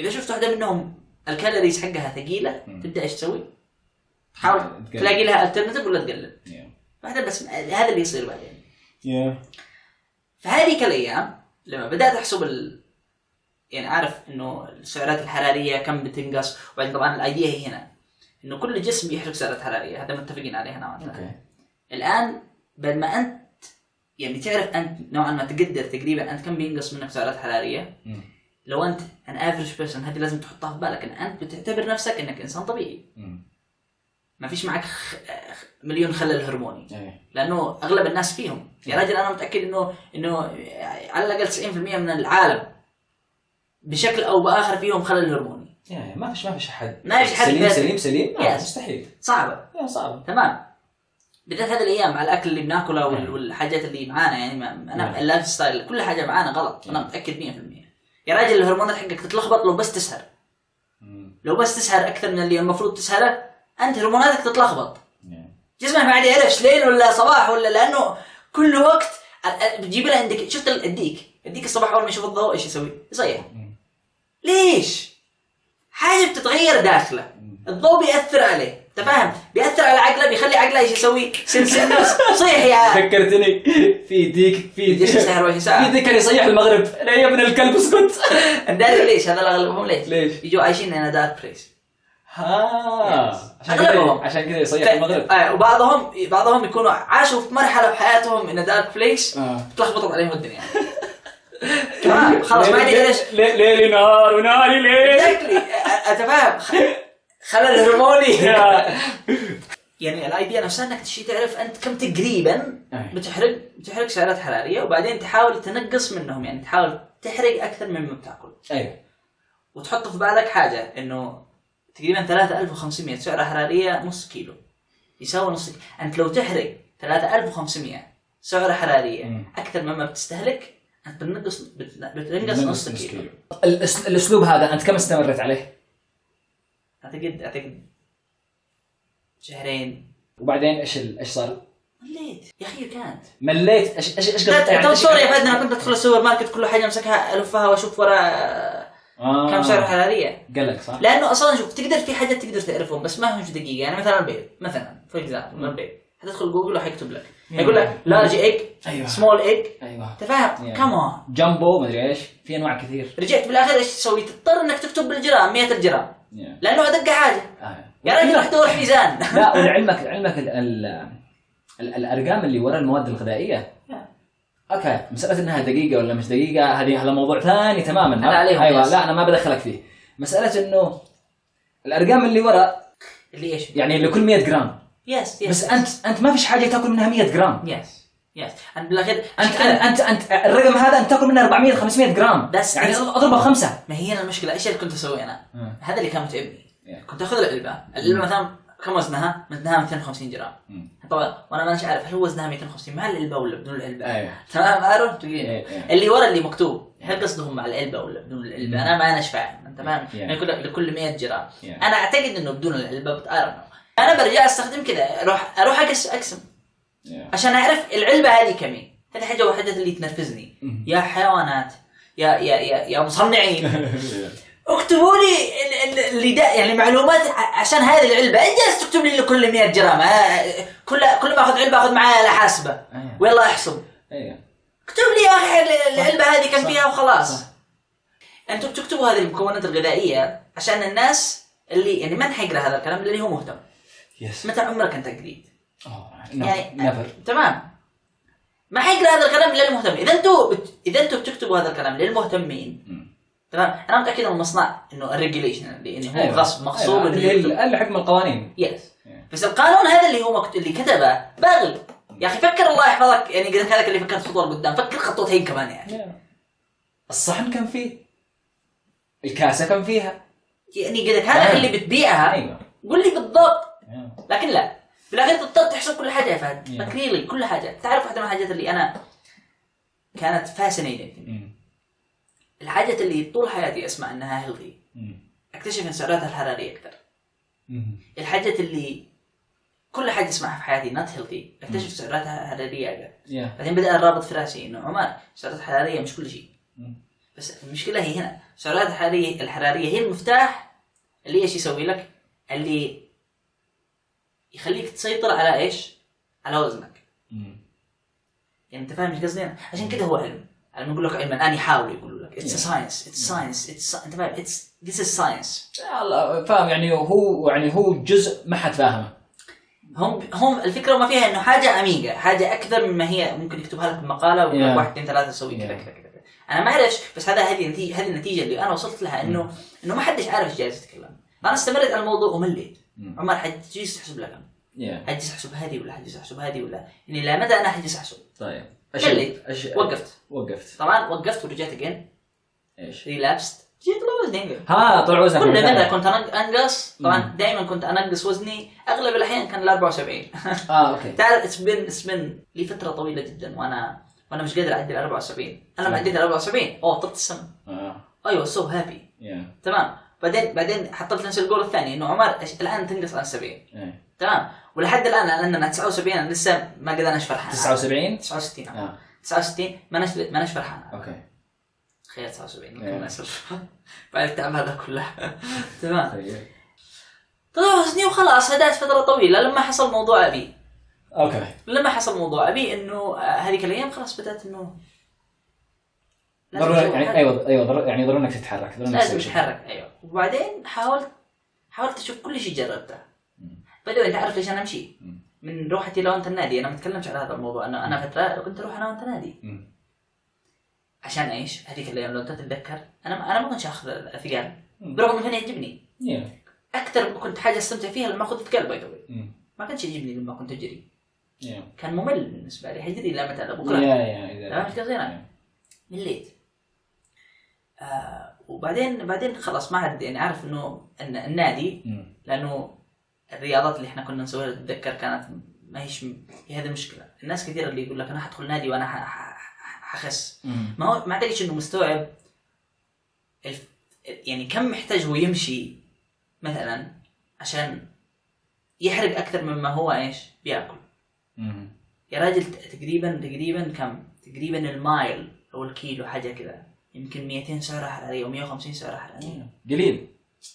اذا شفت واحده منهم الكالوريز حقها ثقيله
مم.
تبدا ايش تسوي؟ تحاول
تقلل.
تلاقي لها الترنتيف ولا تقلل
Yeah.
بعدين بس هذا اللي يصير بعدين
Yeah.
فهذيك الايام لما بدات احسب ال... يعني عارف انه السعرات الحراريه كم بتنقص وبعدين طبعا الايديا هي هنا انه كل جسم بيحرق سعرات حراريه هذا متفقين عليه انا وانت
اوكي
الان بعد ما انت يعني تعرف انت نوعا ما تقدر تقريبا انت كم بينقص منك سعرات حراريه
مم.
لو انت ان افريج بيرسون هذه لازم تحطها في بالك ان انت بتعتبر نفسك انك انسان طبيعي
مم.
ما فيش معك خ... خ- مليون خلل هرموني
إيه.
لانه اغلب الناس فيهم يا راجل انا متاكد انه انه على الاقل 90% من العالم بشكل او باخر فيهم خلل هرموني
Yeah, yeah. ما فيش ما فيش حد
ما فيش حد
سليم
بس.
سليم سليم ما
Yes.
مستحيل
صعبه
يا صعب
تمام بالذات هذه الايام على الاكل اللي بناكله وال-
مم.
والحاجات اللي معانا يعني ما
مم.
انا اللايف ستايل كل حاجه معانا غلط انا
مم.
متاكد 100% يا راجل الهرمونات حقك تتلخبط لو بس تسهر
مم.
لو بس تسهر اكثر من اللي المفروض تسهره انت هرموناتك تتلخبط
Yeah.
جسمك ما عاد يعرفش ليل ولا صباح ولا لانه كل وقت ال- ال- بتجيب لها عندك شفت ال- الديك الديك الصباح اول ما يشوف الضوء ايش يسوي؟ يصيح
مم.
ليش؟ حاجه بتتغير داخله
مم.
الضوء بياثر عليه انت فاهم؟ بياثر على عقله بيخلي عقله ايش يسوي؟ سلسله صيح يا عم.
ذكرتني في ديك في
يجلس
ديك
يسهر وجه
في
ساعه
ذيك اللي يصيح المغرب لا يا ابن الكلب اسكت
داري ليش هذا اغلبهم ليش؟
ليش؟
يجوا عايشين انا دارك بريس
ها عشان كذا
أغلبهم.
عشان كذا يصيح المغرب
آه، وبعضهم بعضهم يكونوا عاشوا في مرحله بحياتهم ان دارك بليس
آه.
تلخبطت عليهم الدنيا
طيب،
تمام خلاص
يعني
ما ادري ليش
لي- ليلي نهار ونهاري ليل
اكزاكتلي اتفاهم خلل هرموني إيه. يعني الايديا نفسها انك تشي تعرف انت كم تقريبا
أي.
بتحرق بتحرق سعرات حراريه وبعدين تحاول تنقص منهم يعني تحاول تحرق اكثر مما بتاكل
ايوه
وتحط في بالك حاجه انه تقريبا 3500 سعره حراريه نص كيلو يساوي نص كيلو. انت لو تحرق 3500 سعره حراريه
مم.
اكثر مما بتستهلك انت بتنقص بت- بتنقص نص كيلو
الأس- الاسلوب هذا انت كم استمريت عليه؟
اعتقد اعتقد شهرين
وبعدين ايش ال- ايش صار؟
مليت يا اخي كانت
مليت ايش ايش ايش قد-
طب
إيش-
طيب، سوري يا فهد انا كنت ادخل السوبر ماركت كل حاجه امسكها الفها واشوف ورا
آه.
كم سعر حراريه
قلق صح؟
لانه اصلا شوف تقدر في حاجات تقدر تعرفهم بس ما همش دقيقه يعني مثلا البيض مثلا فور اكزامبل البيض حتدخل جوجل وحيكتب لك يقول لك لارج ايج
أيوة.
سمول ايج
ايوه
انت فاهم
يعني.
كمان
جامبو مدري ايش في انواع كثير
رجعت بالاخير ايش تسوي؟ تضطر انك تكتب بالجرام 100 الجرام لانه ادق حاجه
آه.
يا راجل راح تدور ميزان
لا ولعلمك علمك ال ال ال الارقام اللي ورا المواد الغذائيه
نعم.
اوكي مساله انها دقيقه ولا مش دقيقه هذه هذا موضوع ثاني تماما
أنا عليهم
ايوه
ناس.
لا انا ما بدخلك فيه مساله انه الارقام اللي ورا
اللي ايش؟
يعني لكل 100 جرام
يس يس
بس انت انت ما فيش حاجه تاكل منها 100 جرام
يس يس انا بالاخير
انت انت انت الرقم هذا انت تاكل منه 400 500 جرام
بس-
يعني اضربها بخمسه
ما هي هنا المشكله ايش اللي كنت اسوي انا؟
مم.
هذا اللي كان متعبني
Yeah.
Mm.
كنت اخذ العلبه العلبه مثلا كم وزنها؟ وزنها 250 جرام
مم.
طبعا وانا مانيش عارف هل وزنها 250 مع العلبه ولا بدون العلبه؟
ايه
تمام عارف؟ تقريبا
إيه، إيه.
اللي ورا اللي مكتوب هل قصدهم مع العلبه ولا بدون العلبه؟ انا ما انا فاهم تمام؟
Mm. Yeah.
يعني كل- لكل 100 جرام
Yeah.
انا اعتقد انه بدون العلبه بت- I don't know. انا برجع استخدم كذا اروح اروح اقس اقسم
Yeah.
عشان اعرف العلبه هذه كم هي هذه حاجه واحده اللي تنرفزني
مم.
يا حيوانات يا يا يا, يا مصنعين اكتبوا لي ال- ال- اللي دا يعني معلومات ع- عشان هذه العلبه إيه جالس تكتب لي لكل 100 جرام آه، كل كل ما اخذ علبه اخذ معايا حاسبه
إيه.
ويلا احسب
ايه
اكتب لي يا اخي ال- العلبه هذه كم
صح.
فيها وخلاص
صح.
انتم بتكتبوا هذه المكونات الغذائيه عشان الناس اللي يعني من حيقرا هذا الكلام اللي هو مهتم
يس
متى عمرك انت قريت
Oh, نعم.
يعني-
نيفر
تمام ما حيقرا هذا الكلام الا المهتم اذا انتم بت... اذا انتم بتكتبوا هذا الكلام للمهتمين تمام انا متاكد ان المصنع انه الريجليشن اللي انه هو غصب مغصوب انه يكتب
أيوة. اللي حكم القوانين
يس
إيه.
بس القانون هذا اللي هو مكت... اللي كتبه باغي يا اخي فكر الله يحفظك يعني قلت هذاك اللي فكر خطوه لقدام فكر خطوتين كمان يعني
الصحن كان فيه الكاسه كان فيها
يعني قلت هذا
أيوة.
اللي بتبيعها
ايوه
قول لي بالضبط
Yeah.
لكن لا في الاخير تضطر تحسب كل حاجه يا فهد
Yeah.
فكري لي كل حاجه تعرف واحده من الحاجات اللي انا كانت فاسينيتنج
مم.
الحاجة اللي طول حياتي اسمع انها هيلثي
مم.
اكتشف ان سعراتها الحرارية اكثر
Mm.
مم.
الحاجة اللي كل حاجة اسمعها في حياتي نوت هيلثي اكتشف سعراتها حرارية اقل
Yeah.
بعدين بدأ الرابط في راسي انه عمر السعرات الحرارية مش كل شيء
مم.
بس المشكلة هي هنا السعرات الحرارية الحرارية هي المفتاح اللي ايش يسوي لك اللي يخليك تسيطر على ايش على وزنك
Mm.
مم.
يعني انت فاهم ايش قصدي أنا؟ عشان كده هو علم علم يقول لك علما الان يحاولوا يقولوا لك اتس
Yeah.
ساينس اتس ساينس اتس انت فاهم اتس ذيس از ساينس
الله فاهم يعني هو يعني هو جزء
Mm.
ما حد فاهمه
هم هم الفكره ما فيها انه حاجه عميقه، حاجه اكثر مما هي ممكن يكتبها لك مقاله ويقول لك
Yeah.
واحد اثنين ثلاثه سوي كذا
Yeah.
كذا كذا كذا. انا ما اعرفش بس هذا هذه النتيجه هذه النتيجه اللي انا وصلت لها انه انه ما حدش عارف ايش جالس يتكلم. انا استمرت على الموضوع ومليت.
Mm.
عمر حتجلس تحسب لك
Yeah.
حتجلس احسب هذه ولا حتجلس احسب هذه ولا يعني لا مدى انا حتجلس احسب.
طيب
خلي.
ايش
وقفت
وقفت
طبعا وقفت ورجعت اجين
ايش
ريلابست جيت لوزني
ها طلع وزنك
كل
مرة ثانية.
مره كنت أنق- انقص طبعا
Mm.
دائما كنت انقص وزني اغلب الاحيان كان ال 74
اه اوكي
تعرف اتس بين اتس بين لي فتره طويله جدا وانا وانا مش قادر اعدي ال 74 انا ما عديت ال 74 اوه طفت السما
اه
ايوه سو هابي
يا
تمام بعدين بعدين حطيت نفس الجول الثاني انه عمر إيش- الان تنقص عن 70
إيه.
تمام ولحد الان لان انا 79 انا لسه ما قد اناش فرحان
79
69 آه.
اه
69 ما نش ما نش فرحان
اوكي
تخيل 79
إيه.
ممكن ما يصير بعد التعب هذا كله تمام
طيب
طلع وزني وخلاص هدات فتره طويله لما حصل موضوع ابي
اوكي
لما حصل موضوع ابي انه آه، هذيك الايام خلاص بدات انه لازم
ضروري
أسوي
يعني
حاجة.
ايوه ايوه ضروري يعني ضروري انك تتحرك ضروري انك
لازم
تسوي شيء
اتحرك ايوه وبعدين حاولت حاولت اشوف كل شيء جربته
مم.
بدأوا انت عارف ليش انا امشي
مم.
من روحتي لونة النادي انا ما اتكلمش على هذا الموضوع انه انا فتره كنت اروح انا وانت نادي
مم.
عشان ايش؟ هذيك الايام لو انت تتذكر انا ما انا ما كنتش اخذ الاثقال
مم.
برغم انه كان يعجبني
يا.
اكثر كنت حاجه استمتع فيها لما اخذ اثقال باي ذا واي.
مم.
ما كانش يعجبني لما كنت اجري
يا.
كان ممل بالنسبه لي حجري لا متى لا بكره
يا يا إذا-
تمام ايش قصدي انا؟
يا.
مليت آه وبعدين بعدين خلاص ما عاد يعني عارف انه ان النادي
مم.
لانه الرياضات اللي احنا كنا نسويها تتذكر كانت ما هيش م- هي هذه المشكله الناس كثير اللي يقول لك انا حدخل نادي وانا ح- ح- ح- حخس
مم.
ما هو ما اعتقدش انه مستوعب الف... يعني كم محتاج هو يمشي مثلا عشان يحرق اكثر مما هو ايش بياكل
مم.
يا راجل ت- تقريبا تقريبا كم؟ تقريبا المايل او الكيلو حاجه كذا يمكن 200 سعره حراريه و150 سعره حراريه
قليل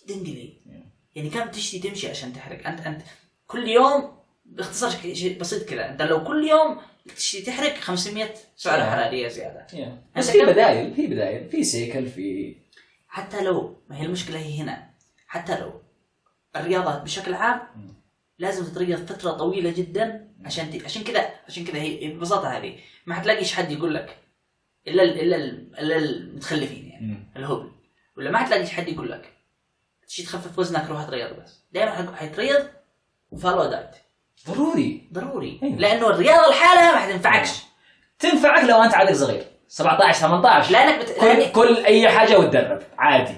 جدا قليل
Yeah.
يعني كم تشتي تمشي عشان تحرق انت انت كل يوم باختصار ش- شيء بسيط كذا انت لو كل يوم تشتي تحرق 500 سعره
Yeah.
حراريه زياده
يا.
أنت
بس في
كم-
بدايل في بدايل في سيكل في
حتى لو ما هي المشكله هي هنا حتى لو الرياضه بشكل عام
مم.
لازم تتريض فتره طويله جدا عشان ت... عشان كذا عشان كذا هي ببساطه هذه ما حتلاقيش حد يقول لك الا ال... الا ال... الا المتخلفين يعني
مم.
الهبل ولا ما حتلاقيش حد يقول لك تشي تخفف وزنك روح تريض بس دائما حق- حتريض وفولو دايت
ضروري
ضروري
أيوة.
لانه الرياضه لحالها ما حتنفعكش
تنفعك لو انت عادك صغير 17 18 طيب.
لانك بت...
كل, كل اي حاجه وتدرب عادي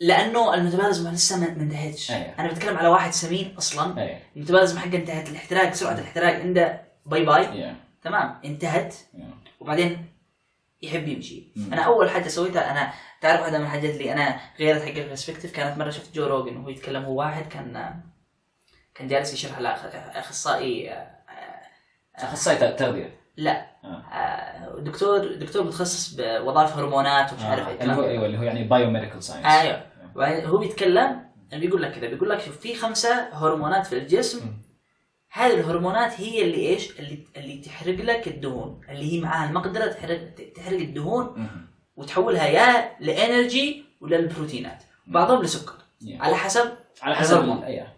لانه الميتابوليزم لسه ما ما انتهتش
أيوة.
أيوه.
انا بتكلم على واحد سمين اصلا
إيه.
ايه
الميتابوليزم حقه انتهت الاحتراق سرعه الاحتراق عنده باي باي
يا
تمام انتهت
يا.
وبعدين يحب يمشي
Mm.
مم.
انا اول حاجه سويتها انا تعرف واحده من الحاجات اللي انا غيرت حق البرسبكتيف كانت مره شفت جو روجن وهو يتكلم هو واحد كان كان جالس يشرح لاخصائي
اخصائي ت- تغذيه
لا
آه.
آه، دكتور دكتور متخصص بوظائف هرمونات ومش عارف
آه، اللي هو
ايه
ايوه اللي هو يعني بايو ميديكال ساينس
ايوه وبعدين هو بيتكلم بيقول لك كذا بيقول لك شوف في خمسه هرمونات في الجسم
مم.
هذه الهرمونات هي اللي ايش اللي اللي تحرق لك الدهون اللي هي معاها المقدره تحرق تحرق الدهون
Mm-hmm.
وتحولها يا لانرجي ولا للبروتينات بعضهم لسكر
Yeah.
على حسب
على حسب
الهرمون.
ايه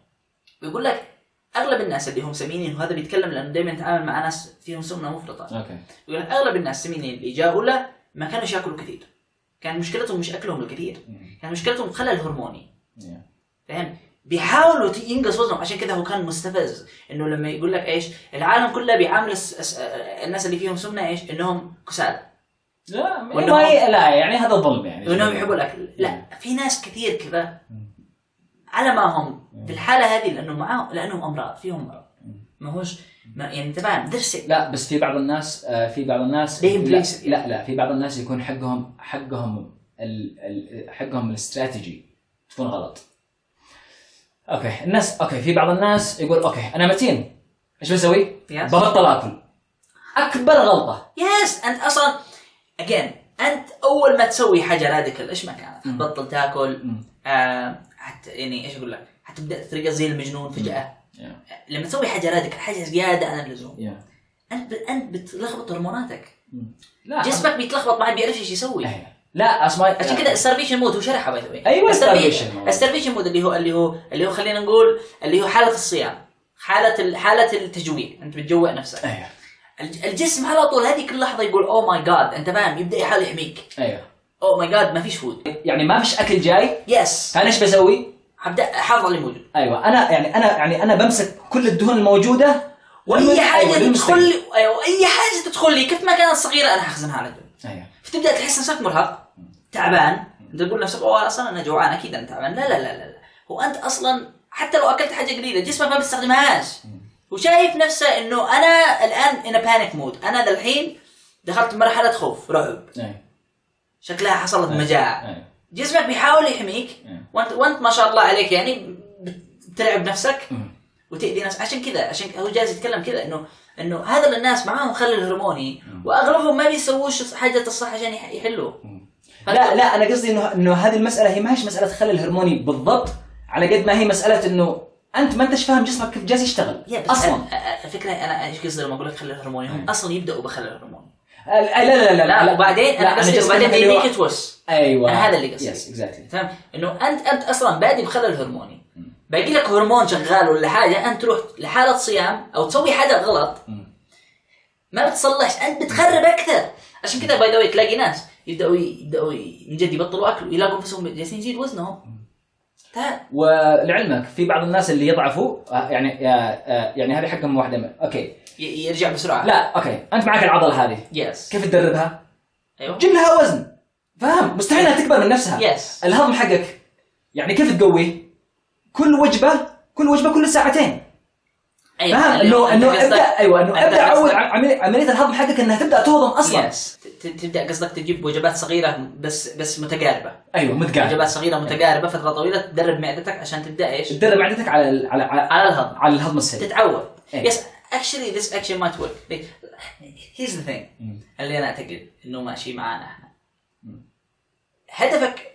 بيقول لك اغلب الناس اللي هم سمينين وهذا بيتكلم لانه دائما يتعامل مع ناس فيهم سمنه مفرطه
اوكي
يقول لك اغلب الناس السمينين اللي جاءوا له ما كانوش ياكلوا كثير كان مشكلتهم مش اكلهم الكثير
مم.
كان مشكلتهم خلل هرموني
Mm-hmm. Yeah.
فاهم بيحاولوا ت- ينقص وزنهم عشان كذا هو كان مستفز انه لما يقول لك ايش العالم كله بيعامل الس- الس- الناس اللي فيهم سمنه ايش انهم كسالى
لا
وإنه-
ما- لا يعني هذا ظلم يعني
وانهم يحبوا الاكل لا في ناس كثير كذا على ما هم في الحاله هذه لانه معاهم لانهم امراض فيهم مرض ما هوش ما يعني تمام درسك
لا بس في بعض الناس آه، في بعض الناس
ليه
لا,
بليس؟
لا لا في بعض الناس يكون حقهم حقهم ال ال حقهم الاستراتيجي تكون غلط اوكي الناس اوكي في بعض الناس يقول اوكي انا متين ايش بسوي؟
Yes.
ببطل اكل اكبر غلطه
يس انت اصلا اجين انت اول ما تسوي حاجه راديكال ايش ما كانت
مم.
تبطل تاكل
مم.
آه حتى يعني ايش اقول لك حتبدا تترقص زي المجنون فجاه
يا
لما تسوي حاجه راديكال حاجه زياده عن اللزوم
يا
انت ب... انت بتلخبط هرموناتك
لا
جسمك بيتلخبط ما حد بيعرف ايش يسوي
آه. أيوة. لا إيه. اصلا
عشان كذا السرفيشن مود هو شرحها باي ذا واي
أيوة، starvation mode.
السرفيشن مود اللي هو اللي هو اللي هو خلينا نقول اللي هو حاله الصيام حاله ال- حاله التجويع انت بتجوع نفسك
ايوه
الج- الجسم على طول هذيك اللحظه يقول "Oh اوه ماي جاد انت فاهم يبدا يحاول يحميك
ايوه
اوه ماي جاد ما فيش فود
يعني ما فيش اكل جاي
يس
انا ايش بسوي؟
ابدا احافظ على اللي موجود
ايوه انا يعني انا يعني انا بمسك كل الدهون الموجوده
واي
والمن- أيوة،
حاجه
والمستقيم.
تدخل لي أيوة، اي حاجه تدخل لي كيف ما كانت صغيره انا هخزنها على جنب
ايوه
فتبدا تحس نفسك مرهق تعبان انت تقول لنفسك اوه اصلا انا جوعان اكيد انا تعبان لا لا لا لا, لا. هو انت اصلا حتى لو اكلت حاجه قليله جسمك ما بيستخدمهاش وشايف نفسه انه انا الان انا بانيك مود انا للحين دخلت مرحله خوف رعب
ايوه
شكلها حصلت مجاعه
ايوه
جسمك بيحاول يحميك
مم.
وانت وانت ما شاء الله عليك يعني بتلعب نفسك
مم.
وتأذي نفسك عشان كذا عشان هو جالس يتكلم كذا انه انه هذا الناس معاهم خلل هرموني واغلبهم ما بيسووش حاجه الصح عشان يح- يحلوه
لا لا انا قصدي انه انه هذه المساله هي ما هيش مساله خلل هرموني بالضبط على قد ما هي مساله انه انت ما انتش فاهم جسمك كيف جالس يشتغل
يا بس
اصلا
أ- أ- الفكره انا ايش قصدي لما اقول لك خلل هرموني هم
مم.
اصلا يبداوا بخلل هرموني
لا لا لا لا,
لا وبعدين
لا،
انا قصدي
جالس
وبعدين
أتكلم اللي هو-
يديك تورس
ايوه
أنا هذا اللي قصدي.
يس اكزاكتلي
تمام انه انت انت اصلا بادي بخلل هرموني باقي لك هرمون شغال ولا حاجه انت تروح لحاله صيام او تسوي حاجه غلط ما بتصلحش انت بتخرب اكثر عشان كذا باي ذا تلاقي ناس يبداوا يبداوا من جد يبطلوا اكل ويلاقوا انفسهم جالسين يزيد وزنهم تمام
ولعلمك في بعض الناس اللي يضعفوا آه، يعني آه، آه، يعني هذه حقهم واحده من اوكي
ي- يرجع بسرعه
لا اوكي انت معك العضله هذه
يس
كيف تدربها؟
ايوه
جيب لها وزن فاهم مستحيل انها تكبر من نفسها
يس
الهضم حقك يعني كيف تقويه؟ كل وجبه كل وجبه كل ساعتين
أيوة.
فاهم انه
أنت
انه
قصدك-
ابدا ايوه انه
أنت
ابدا
قصدك-
عود عمليه عملية الهضم حقك انها تبدا تهضم اصلا
يس ت- ت- تبدا قصدك تجيب وجبات صغيره بس بس متقاربه
ايوه متقاعد
وجبات صغيره متقاربه فتره طويله تدرب معدتك عشان تبدا ايش؟
تدرب معدتك على ال- على على,
على الهضم
على الهضم السريع
تتعود
إيه.
يس اكشلي ذس اكشن مايت ورك هيز ذا ثينج
مم.
اللي انا اعتقد انه ماشي معانا احنا
مم.
هدفك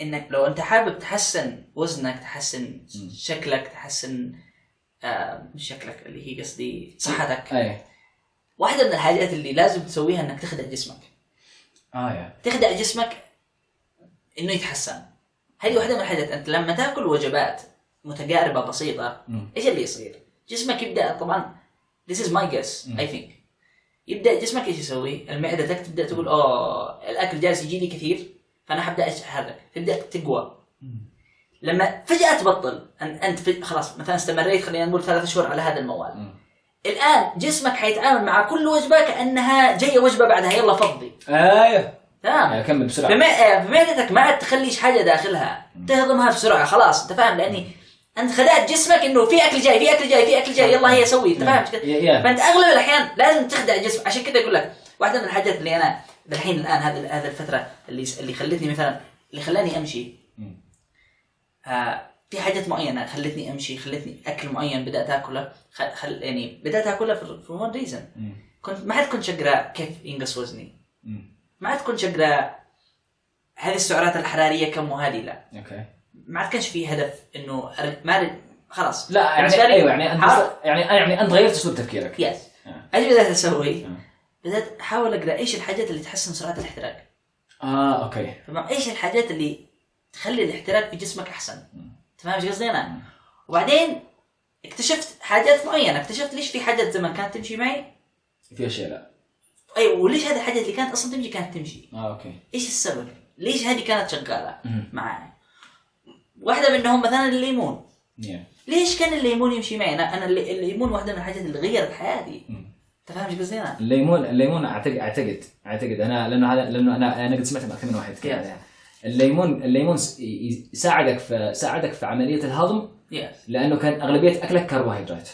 انك لو انت حابب تحسن وزنك تحسن
مم.
شكلك تحسن آه مش شكلك اللي هي قصدي صحتك
ايه
واحده من الحاجات اللي لازم تسويها انك تخدع جسمك
اه يا
تخدع جسمك انه يتحسن هذه واحده من الحاجات انت لما تاكل وجبات متقاربه بسيطه
مم.
ايش اللي يصير؟ جسمك يبدا طبعا this is my guess
مم.
I think يبدا جسمك ايش يسوي؟ المعده تك تبدا تقول اوه الاكل "Oh, جالس يجيني كثير فانا حبدا اتحرك تبدا تقوى لما فجاه تبطل أن- انت فج- خلاص مثلا استمريت خلينا نقول ثلاثة شهور على هذا الموال
مم.
الان جسمك حيتعامل مع كل وجبه كانها جايه وجبه بعدها يلا فضي
ايوه
تمام
يعني كمل بسرعه
بما- آه، بمعدتك ما عاد تخليش حاجه داخلها تهضمها بسرعه خلاص انت فاهم لاني انت خدعت جسمك انه في اكل جاي في اكل جاي في اكل جاي يلا هي سوي انت فاهم
يا- يا
فانت اغلب الاحيان لازم تخدع جسمك عشان كذا اقول لك واحده من الحاجات اللي انا الحين الان هذه هذه الفتره اللي اللي خلتني مثلا اللي خلاني امشي
مم.
آه في حاجات معينه خلتني امشي خلتني اكل معين بدات اكله خل خل يعني بدات اكله فور ون ريزن
مم.
كنت ما عاد كنت اقرا كيف ينقص وزني
مم.
ما عاد كنت اقرا هذه السعرات الحراريه كم وهذه لا
اوكي
ما عاد كانش في هدف انه أر- ما أر- خلاص
لا يعني
بالنسبة لي-
ايوه يعني انت
ها؟
يعني يعني انت غيرت اسلوب تفكيرك
يس
آه.
ايش بدات اسوي؟
آه.
بدات احاول اقرا ايش الحاجات اللي تحسن سرعه الاحتراق
اه اوكي
تمام ايش الحاجات اللي تخلي الاحتراق في جسمك احسن
مم.
تفهم ايش قصدي
مم.
انا وبعدين اكتشفت حاجات معينه اكتشفت ليش في حاجات زمان كانت تمشي معي
في اشياء لا
اي وليش هذه الحاجات اللي كانت اصلا تمشي كانت تمشي
اه اوكي
ايش السبب ليش هذه كانت شغاله
مم.
معاي واحده منهم مثلا الليمون
يا
ليش كان الليمون يمشي معي انا انا اللي- الليمون واحده من الحاجات اللي غيرت حياتي
مم.
تفهم ايش قصدي انا
الليمون الليمون اعتقد اعتقد اعتقد انا لانه هذا لانه انا انا قد سمعت مع اكثر من واحد يتكلم
Yes.
عليها. الليمون الليمون س- ي- يساعدك في ساعدك في عمليه الهضم
يس
لانه كان اغلبيه اكلك كربوهيدرات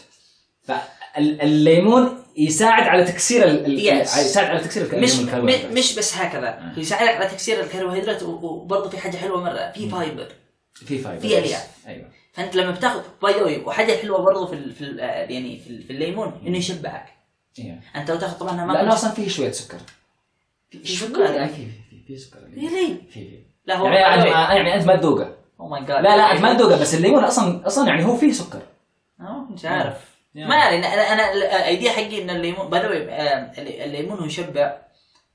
فالليمون يساعد على تكسير ال... ال-
Yes.
يساعد على تكسير الك-
مش
الكربوهيدرات
مش بس هكذا
آه.
يساعدك على تكسير الكربوهيدرات و- وبرضه في حاجه حلوه مره في فايبر
في فايبر
في ألياف.
ايوه
فانت لما بتاخذ باي ذا واي وحاجه حلوه برضه في ال- في ال- آه، يعني في ال- في الليمون انه يشبعك
إيه.
انت لو تاخذ طبعا أنا
لانه
ما
اصلا فيه شويه سكر
كنت- في شوكولاته
يعني في في- في سكر
ليه ليه؟
في في
لا هو Oh أيوة.
يعني أنت- يعني انت ما تذوقه
او ماي جاد
لا لا انت ما تذوقه بس الليمون اصلا اصلا يعني هو فيه سكر
مش عارف
Yeah.
ما علينا انا انا الايديا حقي ان الليمون باي ذا واي آه، الليمون هو يشبع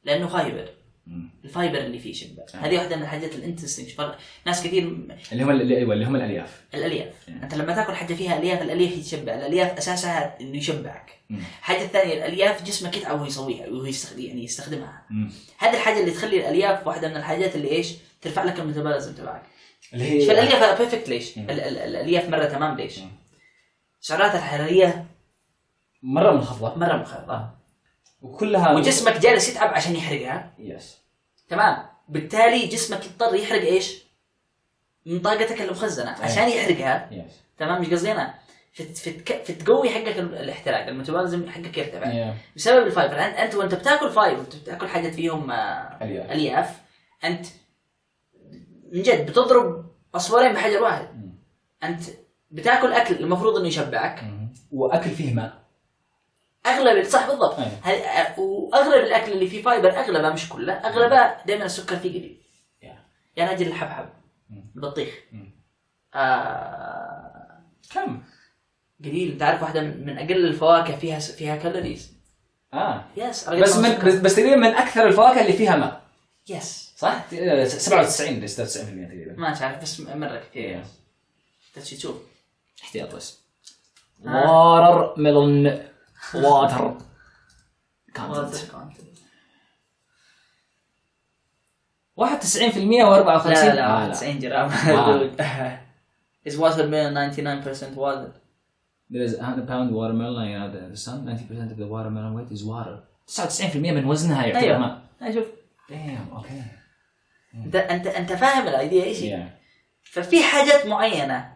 لانه فايبر
مم.
الفايبر اللي فيه يشبع
آه.
هذه واحده من الحاجات الانترستنج ناس كثير م-
اللي هم اللي ايوه اللي هم الالياف
الالياف
Yeah.
انت لما تاكل حاجه فيها الياف الالياف يتشبع الالياف اساسها انه يشبعك
مم.
الحاجه الثانيه الالياف جسمك يتعب وهو يسويها وهو يستخدم يعني يستخدمها
مم.
هذه الحاجه اللي تخلي الالياف واحده من الحاجات اللي ايش؟ ترفع لك الميتابوليزم تبعك.
اللي
شوف
هي
الالياف بيرفكت ليش؟
إيه. مم.
ال- ال- الالياف مره تمام ليش؟
مم.
سعراتها الحراريه
مره منخفضه
مره منخفضه
وكلها
وجسمك جالس يتعب عشان يحرقها
يس
تمام بالتالي جسمك يضطر يحرق ايش؟ من طاقتك المخزنه
إيه.
عشان يحرقها
يس
تمام مش قصدي انا فت- فت- فتقوي حقك ال- الاحتراق الميتابوليزم حقك يرتفع
يا.
بسبب الفايبر أنت- انت وانت بتاكل فايبر وانت بتاكل حاجات فيهم آه،
الياف
الياف انت من جد بتضرب عصفورين بحجر واحد
مم.
انت بتاكل اكل المفروض انه يشبعك
مم. واكل فيه ماء
اغلب صح بالضبط
أيه.
هل- واغلب الاكل اللي فيه فايبر اغلبه مش كله اغلبه دائما السكر فيه قليل
Yeah.
يعني اجل الحبحب
مم.
البطيخ
مم.
آه...
كم
قليل انت عارف واحده من اقل الفواكه فيها فيها كالوريز
اه
يس
بس من بس, بس تقريبا من اكثر الفواكه اللي فيها ماء
يس
صح؟ تقريباً 97 ل 96% تقريبا
ما عارف بس مره كثير
Yeah.
بس تشوف
احتياط بس
آه.
واتر ميلون واتر كونتنت 91% و54
لا
آه،
لا 90 جرام از واتر ميلون 99% واتر
There is 100 pound watermelon in the sun. 90% of the watermelon weight is water. 99% من وزنها يعتبر
أيوة.
ماء.
شوف
Damn, اوكي.
انت انت انت فاهم الايديا ايش هي؟
Yeah.
ففي حاجات معينه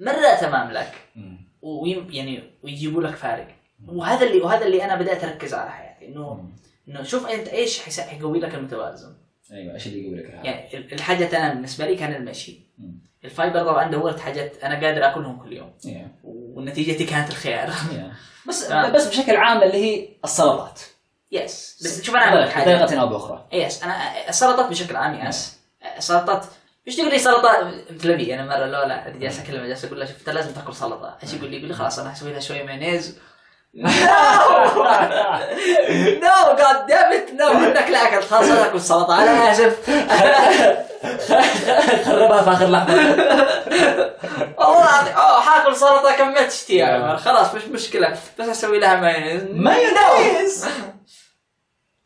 مره تمام لك
مم.
ويم يعني ويجيبوا لك فارق وهذا اللي وهذا اللي انا بدات اركز على حياتي انه
مم.
انه يعني شوف انت ايش حيس- حيقوي لك المتوازن
ايوه ايش اللي يقول لك هذا؟
يعني ال- الحاجه انا بالنسبه لي كان المشي
مم.
الفايبر طبعا دورت حاجات انا قادر اكلهم كل يوم
Yeah.
ونتيجتي كانت الخيار
Yeah. بس
آه.
بس بشكل عام اللي هي السلطات. طيب،
يس بس شوف انا اقول لك حاجه
بطريقه او باخرى.
يس انا السلطات بشكل عام يس السلطات ايش تقول لي سلطه مثل ابي انا مره لو لا جالس اكلمه جالس اقول له شوف انت لازم تاكل سلطه ايش يقول لي يقول لي خلاص انا هسوي لها شويه مايونيز نو جاد دامت نو انك لا اكل خلاص انا اكل سلطه انا اسف
خربها في اخر لحظه.
والله العظيم اوه حاكل سلطه كمية اشتياق خلاص مش مشكله بس اسوي لها مايونيز
مايونيز.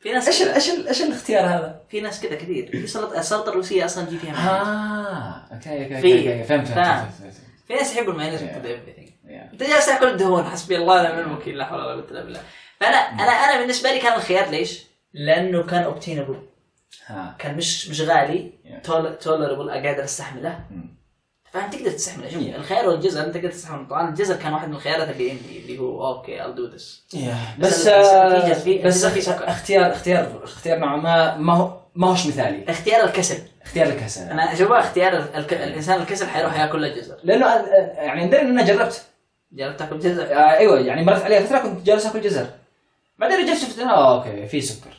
في ناس
ايش ال-
كده-
ايش ال- ايش الاختيار هذا؟
في ناس كذا كثير في سلطه السلطه الروسيه اصلا يجي فيها مايونيز
اه اوكي اوكي
في.
اوكي أوكي، فهمت
فاهم.
فهمت فهمت.
في ناس يحبوا المايونيز
Yeah.
with everything
Yeah.
انت جالس تاكل الدهون حسبي الله ونعم الوكيل لا حول ولا قوه الا بالله فانا انا انا بالنسبه لي كان الخيار ليش؟ لانه كان اوبتينبل
ها
كان مش مش غالي
Yeah.
تولربل قادر استحمله
مم.
فاهم تقدر تستحمله شوف
Yeah.
الخيار والجزر انت تقدر تستحمله طبعا الجزر كان واحد من الخيارات اللي عندي اللي هو اوكي I'll do this
بس
بس
آه،
النتيجة فيه-
بس
النتيجة فيه سكر.
اختيار اختيار اختيار نوعا ما ما هو ما هوش مثالي
اختيار الكسل
اختيار لك هسه
انا اشوفها اختيار ال- الك... الانسان الكسل حيروح ياكل له جزر
لانه أنا- يعني ندري ان انا جربت
جربت تاكل جزر
آه، ايوه يعني مرت علي فتره كنت جالس اكل جزر بعدين رجعت شفت انه آه، اوكي في سكر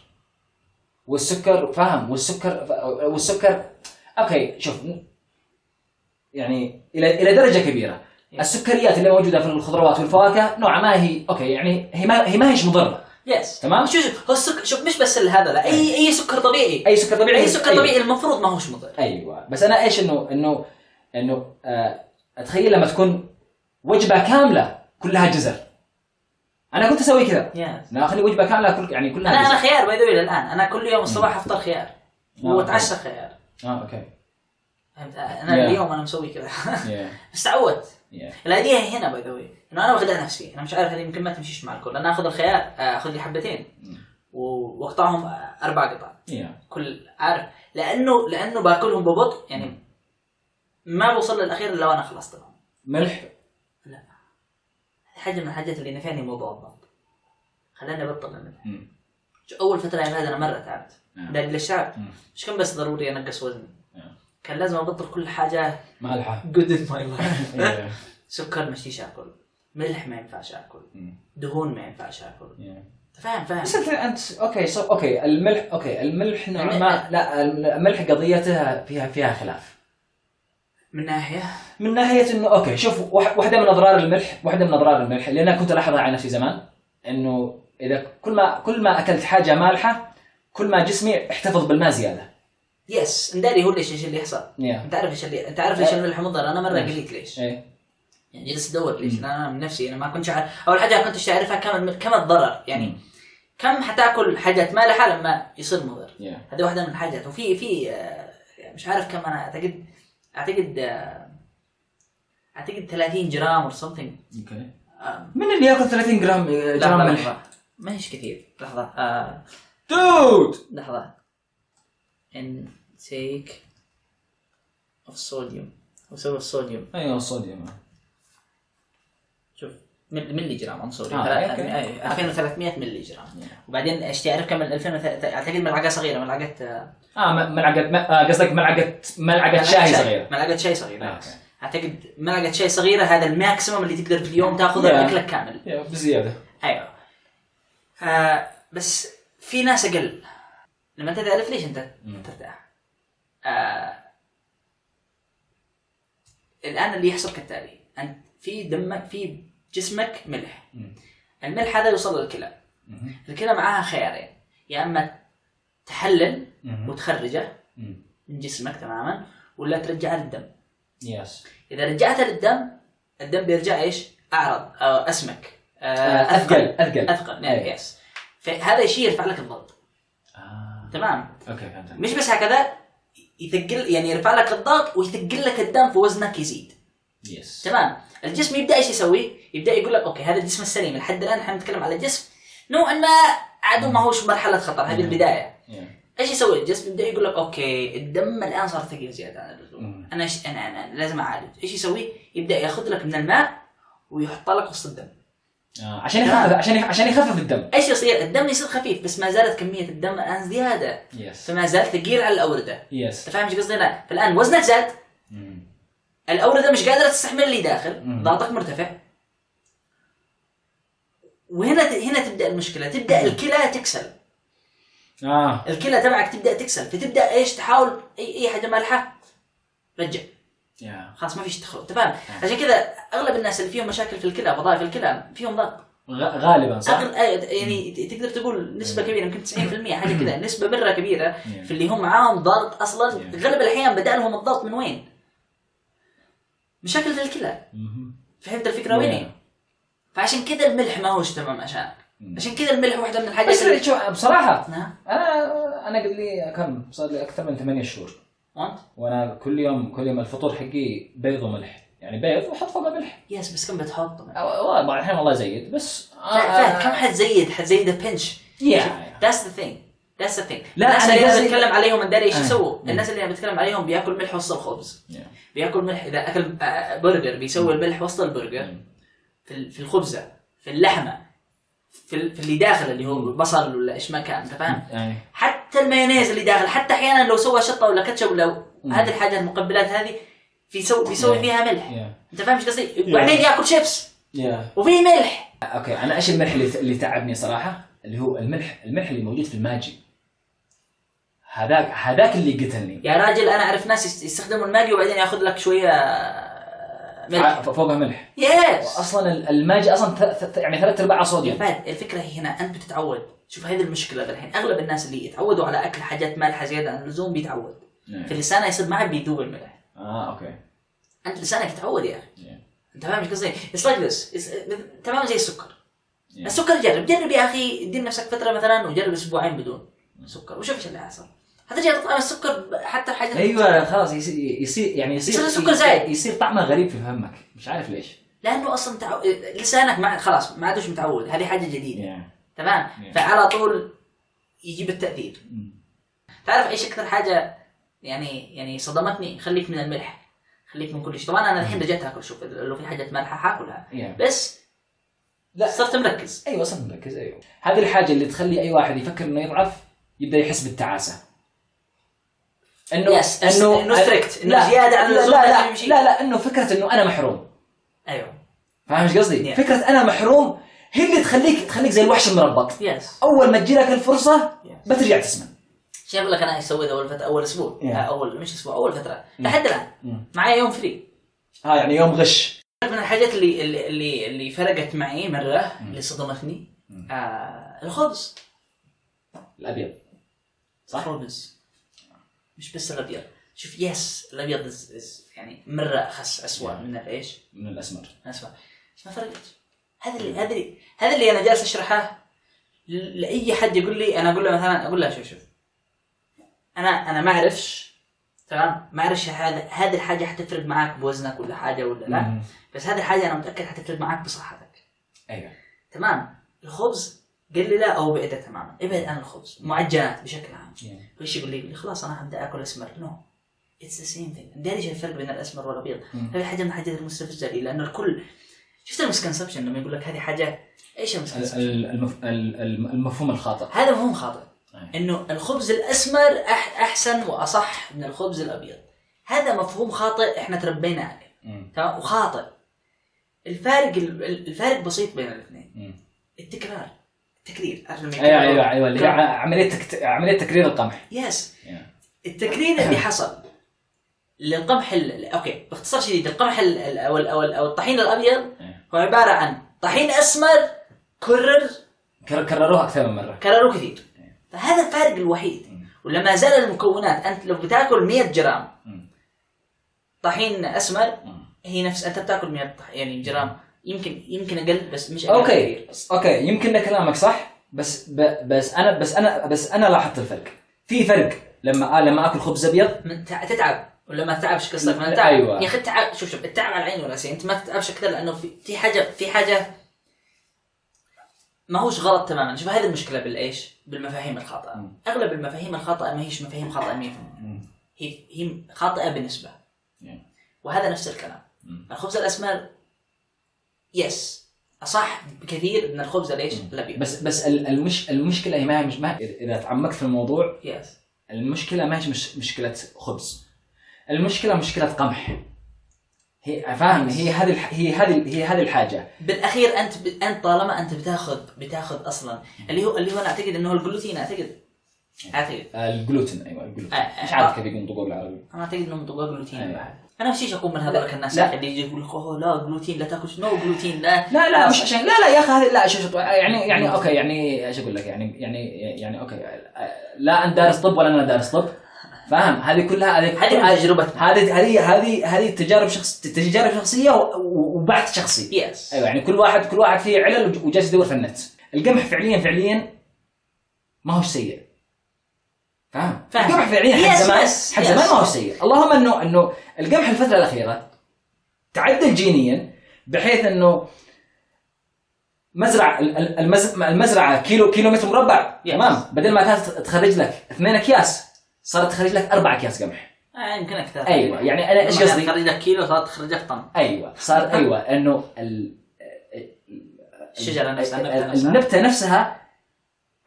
والسكر فاهم والسكر والسكر اوكي شوف يعني الى الى درجه كبيره
إيه.
السكريات اللي موجوده في الخضروات والفواكه نوعا ما هي اوكي يعني هي ما هي ما هيش مضره
يس
تمام؟
شوف شوف هو السكر شوف مش بس هذا لا اي اي سكر طبيعي
اي سكر طبيعي
اي سكر طبيعي المفروض ما هوش مضر
ايوه بس انا ايش انه انه انه آه، اتخيل لما تكون وجبه كامله كلها جزر انا كنت اسوي كذا
يس
لا اخلي وجبه كامله كل يعني
انا
كلها
انا
جزر.
خيار باي ذا الان انا كل يوم الصباح افطر خيار
آه،
واتعشى خيار
اه اوكي
فهمت انا
Yeah.
اليوم انا مسوي كذا
Yeah.
بس تعودت
Yeah.
العيديه هنا باي ذا انه انا واخدها نفسي انا مش عارف هذه يمكن ما تمشيش مع الكل انا اخذ الخيار اخذ لي حبتين و- واقطعهم اربع قطع
Mm. Yeah.
كل عارف لانه لانه باكلهم ببطء يعني ما بوصل للاخير الا وانا خلصت لهم
ملح
حاجه من الحاجات اللي نفعني موضوع الضغط خلاني ابطل الملح
مم.
شو يعني اول فتره يا فهد انا مره تعبت
نعم.
دليل الشعب
مم.
مش كان بس ضروري انقص وزني
نعم.
كان لازم ابطل كل حاجه
مالحه
جود ان ماي لايف
Yeah.
سكر مشيش اكل ملح ما ينفعش اكل
مم.
دهون ما ينفعش اكل
Mm. Yeah.
فاهم فاهم
بس انت انت اوكي صو... اوكي الملح اوكي الملح نوعا ما لا الملح قضيتها فيها فيها خلاف
من ناحيه
من ناحيه انه اوكي شوف واح- واحده من اضرار الملح واحده من اضرار الملح اللي انا كنت الاحظها على نفسي زمان انه اذا كل ما كل ما اكلت حاجه مالحه كل ما جسمي احتفظ بالماء زياده
يس نداري هو ليش ايش اللي يحصل
yeah.
انت عارف ايش اللي انت عارف ليش الملح مضر انا مره قلت ليش
ايه
يعني جلست ادور ليش لأن انا من نفسي انا ما كنت عارف اول حاجه ما كنتش اعرفها كم كم الضرر يعني كم حتاكل حاجات مالحه لما يصير مضر
yeah.
هذه واحده من الحاجات وفي في آه، مش عارف كم انا اعتقد اعتقد آه، اعتقد 30 جرام or something
اوكي
آه،
من اللي ياكل 30 جرام
لا،
جرام
لا،
ملح؟
لحظة. ما هيش كثير لحظه آه،
دود
لحظه intake of sodium وسوي الصوديوم
ايوه الصوديوم
شوف مل- ملي جرام ام سوري
آه،
ثلاث- إيه،
أوكي.
أي- 2300 ملي جرام وبعدين ايش تعرف كم ال 2000 اعتقد ملعقه صغيره ملعقه آه،
اه م- ملعقه م- آه، قصدك ملعقه ملعقه
ملعقة
شاي صغيره
ملعقه شاي صغيره
آه،
يس.
أوكي.
اعتقد ملعقه شاي صغيره هذا الماكسيمم اللي تقدر في اليوم تاخذه
Yeah.
اكلك كامل
يا بزياده
ايوه آه بس في ناس اقل لما انت تعرف ليش انت ترتاح آه الان اللي يحصل كالتالي انت في دمك في جسمك ملح
مم.
الملح هذا يوصل للكلى
مهم.
الكلى معاها خيارين يا اما تحلل
مهم.
وتخرجه
مم.
من جسمك تماما ولا ترجعه للدم
يس
اذا رجعته للدم الدم بيرجع ايش؟ اعرض أو اسمك آه،
اثقل اثقل
اثقل نعم
إيه.
يس فهذا الشيء يرفع لك الضغط
آه،
تمام
اوكي فهمت
مش بس هكذا يثقل يعني يرفع لك الضغط ويثقل لك الدم فوزنك يزيد
يس
تمام الجسم يبدا ايش يسوي؟ يبدا يقول لك اوكي هذا الجسم السليم لحد الان احنا نتكلم على جسم نوعا ما عدو ما هوش مرحله خطر هذه
مم.
البدايه
Yeah.
ايش يسوي الجسم يبدا يقول لك اوكي الدم الان صار ثقيل زياده عن اللزوم
مم.
انا, ش... أنا, انا لازم اعالج ايش يسوي؟ يبدا ياخذ لك من الماء ويحط لك وسط الدم
آه، عشان يخفف عشان يخ- عشان يخفف الدم
ايش يصير؟ الدم يصير خفيف بس ما زالت كميه الدم الان زياده
يس
فما زال ثقيل على الاورده
يس
انت فاهم ايش قصدي لا فالان وزنك زاد
مم.
الاورده مش قادره تستحمل اللي داخل
مم.
ضغطك مرتفع وهنا ت- هنا تبدا المشكله تبدا الكلى تكسل
اه
الكلى تبعك تبدا تكسل فتبدا ايش تحاول اي اي حاجه مالحه رجع
يا
خلاص ما فيش تخرج تمام
آه.
عشان كذا اغلب الناس اللي فيهم مشاكل في الكلى وظائف الكلى فيهم ضغط
غ- غالبا صح؟
أغل... آه، يعني ت- تقدر تقول نسبة كبيرة يمكن 90% حاجة كذا نسبة مرة كبيرة في اللي هم معاهم ضغط أصلا
Yeah.
غالب الأحيان بدأ لهم الضغط من وين؟ مشاكل في الكلى
مهم.
فهمت الفكرة وين؟ فعشان كذا الملح ما هوش تمام عشانك
مم.
عشان كذا الملح واحدة من الحاجات
بس
اللي
شو بصراحه
ها؟
انا انا قبل لي كم صار لي اكثر من ثمانية شهور
وانت؟
وانا كل يوم كل يوم الفطور حقي بيض وملح يعني بيض وحط فوقه ملح
يس بس كم بتحطه؟
والله بعض الحين والله زيد بس آه،
فهد كم حتزيد؟ حتزيد بنش
Yeah.
That's the thing That's the thing.
لا،
الناس
أنا
اللي
قصدي-
انا بتكلم عليهم الداري ايش
آه.
يسووا؟
مم.
الناس اللي انا بتكلم عليهم بياكل ملح وسط الخبز
Yeah.
بياكل ملح اذا اكل آه، برجر بيسوي الملح وسط البرجر
مم.
في ال- في الخبزه في اللحمه في ال- في اللي داخل اللي هو البصل ولا ايش ما كان انت فاهم؟
يعني
حتى المايونيز اللي داخل حتى احيانا لو سوى شطه ولا كاتشب ولا
مم.
هذه الحاجه المقبلات هذه بيسوي بيسوي
Yeah.
فيها ملح
yeah.
انت فاهم ايش قصدي؟ وبعدين ياكل شيبس
يا
وفيه ملح
اوكي انا ايش الملح اللي, اللي تعبني صراحه؟ اللي هو الملح الملح اللي موجود في الماجي هذاك هذاك اللي قتلني
يا راجل انا اعرف ناس يست- يستخدموا الماجي وبعدين ياخذ لك شويه ملح
ع- فوقها ملح
يس
اصلا ال- الماجي اصلا ث- ث- يعني ثلاث ارباعها صوديوم
فهد الفكره هي هنا انت بتتعود شوف هذه المشكله الحين اغلب الناس اللي يتعودوا على اكل حاجات مالحه زياده عن اللزوم بيتعود في لسانه يصير ما عاد بيذوق الملح
اه اوكي
انت لسانك يتعود يا اخي
Yeah.
انت فاهم ايش قصدي؟ اتس لايك ذس تمام زي السكر
Yeah.
السكر جرب جرب يا اخي دير نفسك فتره مثلا وجرب اسبوعين بدون سكر وشوف ايش اللي حصل هترجع تطعم السكر ب- حتى الحاجات
ايوه خلاص يصير, يصير يعني يصير
يصير السكر زايد.
يصير طعمه غريب في فمك مش عارف ليش
لانه اصلا تعو... لسانك ما خلاص ما عادوش متعود هذه حاجه جديده
yeah.
تمام
Yeah.
فعلى طول يجيب التاثير تعرف ايش اكثر حاجه يعني يعني صدمتني خليك من الملح خليك من كل شيء طبعا انا الحين رجعت اكل شوف لو في حاجات مالحه حاكلها
Yeah.
بس
لا.
صرت مركز
ايوه صرت مركز ايوه هذه الحاجه اللي تخلي اي واحد يفكر انه يضعف يبدا يحس بالتعاسه انه
Yes, yes, إنه strict، إنه
لا،
زيادة عن
لا
اللزوم
لا
لازم
لا,
يمشي.
لا لا انه فكره انه انا محروم
ايوه
فاهم ايش قصدي؟
Yeah.
فكره انا محروم هي اللي تخليك تخليك زي الوحش المربط
يس
اول ما تجي لك الفرصه
Yes.
بترجع تسمن
شايف أقول لك انا ايش سويت اول فتره اول اسبوع
Yeah.
آه، اول مش اسبوع اول فتره لحد الان
Mm.
معي يوم فري
ها يعني يوم غش
من الحاجات اللي اللي اللي, اللي فرقت معي
Mm.
مره اللي صدمتني آه الخبز
الابيض صح؟
خبز مش بس الابيض شوف يس الابيض is- is يعني مره اخس اسوء من العيش
من الاسمر
اسمع ما فرقت هذا اللي هذا اللي هذا اللي انا جالس اشرحه ل- لاي حد يقول لي انا اقول له مثلا اقول له شوف شوف انا انا ما اعرفش تمام ما اعرفش هذا هذه الحاجه حتفرق معاك بوزنك ولا حاجه ولا لا
مم.
بس هذه الحاجه انا متاكد حتفرق معاك بصحتك
ايوه
تمام الخبز قال لي لا او بعده تماما ابعد عن الخبز معجنات بشكل عام
Yeah.
وش يقول لي؟ يقول لي خلاص انا هبدا اكل اسمر نو اتس ذا سيم ثينج داري ايش يعني الفرق بين الاسمر والابيض
مم.
هذه حاجه من الحاجات المستفزه لي لانه الكل شفت المسكنسبشن لما يقول لك هذه حاجه ايش
ال-
المسكنسبشن؟
ال- المف- ال- ال- المفهوم الخاطئ
هذا مفهوم خاطئ
أي.
انه الخبز الاسمر أح احسن واصح من الخبز الابيض هذا مفهوم خاطئ احنا تربينا عليه
مم.
تمام وخاطئ الفارق ال- ال- الفارق بسيط بين الاثنين
مم.
التكرار التكرير عارف لما
ايوه
يكرروا؟
ايوه ايوه اللي هي ع- عمليه تكت... عمليه تكرير القمح
يس
Yeah.
التكرير اللي حصل للقمح ال... اوكي باختصار شديد القمح ال... ال- او ال... او, ال... أو الطحين الابيض
إيه.
هو عباره عن طحين اسمر كرر
كر- كرروها اكثر من مره
كرروا كثير
إيه.
فهذا الفارق الوحيد
مم.
ولما زال المكونات انت لو بتاكل 100 جرام
مم.
طحين اسمر
مم.
هي نفس انت بتاكل 100 طح- يعني جرام يمكن يمكن اقل بس مش اقل
اوكي
كثير.
اوكي يمكن إن كلامك صح بس ب... بس انا بس انا بس انا لاحظت الفرق في فرق لما آ- لما اكل خبز ابيض
من تع- تتعب ولا ما تتعبش قصتك ما
لا،
تتعب
أيوة.
يا اخي التعب شوف شوف التعب على عيني وراسي انت ما تتعبش اكثر لانه في, في حاجه في حاجه ما هوش غلط تماما شوف هذه المشكله بالايش؟ بالمفاهيم الخاطئه
مم.
اغلب المفاهيم الخاطئه ما هيش مفاهيم خاطئه 100% هي هي خاطئه بالنسبه وهذا نفس الكلام
مم.
الخبز الاسمر يس اصح بكثير من الخبز ليش؟ الابيض
بس بس ال- المش المشكله هي ما هي مش ما اذا تعمقت في الموضوع
يس
المشكله ما هي مش مشكله خبز المشكله مشكله قمح هي فاهم هي هذه الح- هي هذه هي هذه الحاجه
بالاخير انت ب... انت طالما انت بتاخذ بتاخذ اصلا اللي هو اللي هو انا اعتقد انه هو الجلوتين اعتقد اعتقد
الجلوتين ايوه الجلوتين
آه،
مش
آه. إيه.
عارف كيف ينطقوه بالعربي
انا اعتقد انه مضغوط جلوتين
أيوة.
بعد. انا مشيش اكون من هذول الناس
لا.
اللي يجي يقول لك اوه لا جلوتين لا تاكل نو جلوتين لا
لا لا مش عشان لا لا يا اخي هذه لا شوف شوف يعني يعني اوكي يعني ايش اقول لك يعني يعني يعني اوكي آه، لا انت دارس طب ولا انا دارس طب فاهم هذه كلها
هذه من تجربتنا.
هذه هذه هذه هذه تجارب شخص تجارب شخصيه و- و- وبحث شخصي
يس
ايوه يعني كل واحد كل واحد فيه علل وج- وجالس يدور في النت القمح فعليا فعليا ما هو سيء فاهم
فاهم.
القمح فعليا حق
Yes,
زمان
yes,
حق
yes.
زمان ما هو سيء اللهم انه انه القمح الفتره الاخيره تعدل جينيا بحيث انه مزرعه ال- ال- المز- المزرعه كيلو كيلومتر مربع
Yes.
تمام بدل ما كانت تخرج لك اثنين اكياس صارت تخرج لك اربع اكياس قمح
آه يمكن اكثر
ايوه يعني انا ايش قصدي؟
تخرج لك كيلو صارت تخرج لك طن
ايوه صار ايوه انه ال...
الشجرة نفسها،
ال-
النبتة
ال-
نفسها.
النبته أيوة. نفسها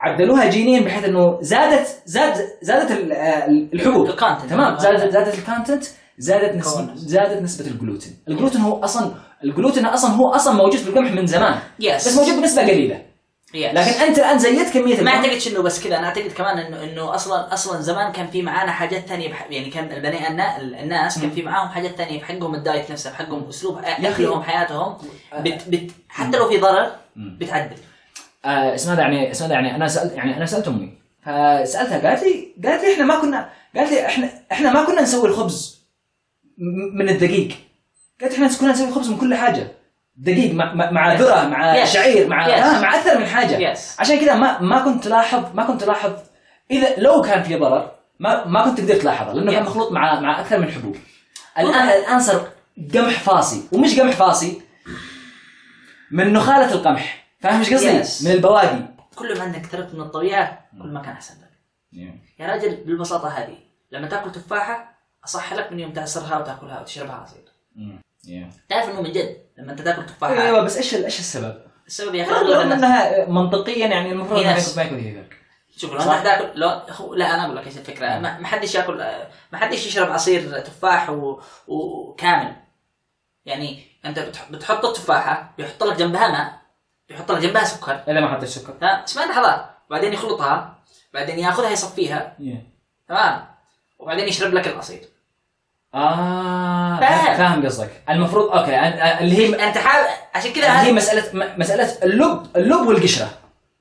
عدلوها جينيا بحيث انه زادت زاد زادت ال- ال- الحبوب
الكونتنت
تمام زادت زادت الكونتنت زادت نسبة
كونس.
زادت نسبة الجلوتين، الجلوتين هو اصلا الجلوتين اصلا هو اصلا موجود في القمح من زمان
يس
بس موجود بنسبة قليلة،
يس.
لكن انت الان زيدت كمية
ما
القمح.
اعتقدش انه بس كذا انا اعتقد كمان انه انه اصلا اصلا زمان كان في معانا حاجات ثانيه بح... يعني كان البني النا... الناس كان في معاهم حاجات ثانيه بحقهم الدايت نفسه بحقهم اسلوب
أخي.
اكلهم حياتهم
آه.
بت... بت... حتى لو في ضرر
مم.
بتعدل
آه اسمها ذا يعني اسمها ذا يعني انا سالت يعني انا سالت امي فسالتها قالت لي قالت لي احنا ما كنا قالت لي احنا احنا ما كنا نسوي الخبز م- من الدقيق قالت احنا كنا نسوي الخبز من كل حاجه دقيق مع مع- مع
Yes.
ذره مع
Yes.
شعير مع
Yes.
آه مع اكثر من حاجه
يس
عشان كذا ما ما كنت تلاحظ ما كنت تلاحظ اذا لو كان في ضرر ما ما كنت تقدر تلاحظه لانه كان
Yeah.
مخلوط مع مع اكثر من حبوب الان
والله.
الان صار قمح فاصي ومش قمح فاصي من نخاله القمح فاهم ايش قصدي؟
Yes.
من البواقي
كل ما انك تركت من الطبيعه كل ما كان احسن لك يا راجل بالبساطه هذه لما تاكل تفاحه اصح لك من يوم تعصرها وتاكلها وتشربها عصير تعرف انه من جد لما انت تاكل تفاحه
ايوه بس ايش ال- ايش السبب؟
السبب يا اخي أغلب
رغم
الناس-
انها منطقيا يعني المفروض
Yes.
ما يكون- ما يكون فيه فرق.
شوف لو
صح؟
انت تاكل لو هو- لا انا اقول لك ايش الفكره ما ما حدش ياكل ما حدش يشرب عصير تفاح و- وكامل يعني انت بتح- بتحط التفاحه بيحط لك جنبها ماء بيحط لك جنبها سكر
الا ما حطيت سكر
تمام اسمع لحظات بعدين يخلطها بعدين ياخذها يصفيها تمام وبعدين يشرب لك العصير
اه
فاهم.
فاهم قصدك المفروض اوكي أنا- اللي هي
انت حابب عشان كذا
يعني هي
هذا
مساله م- مساله اللب اللب والقشره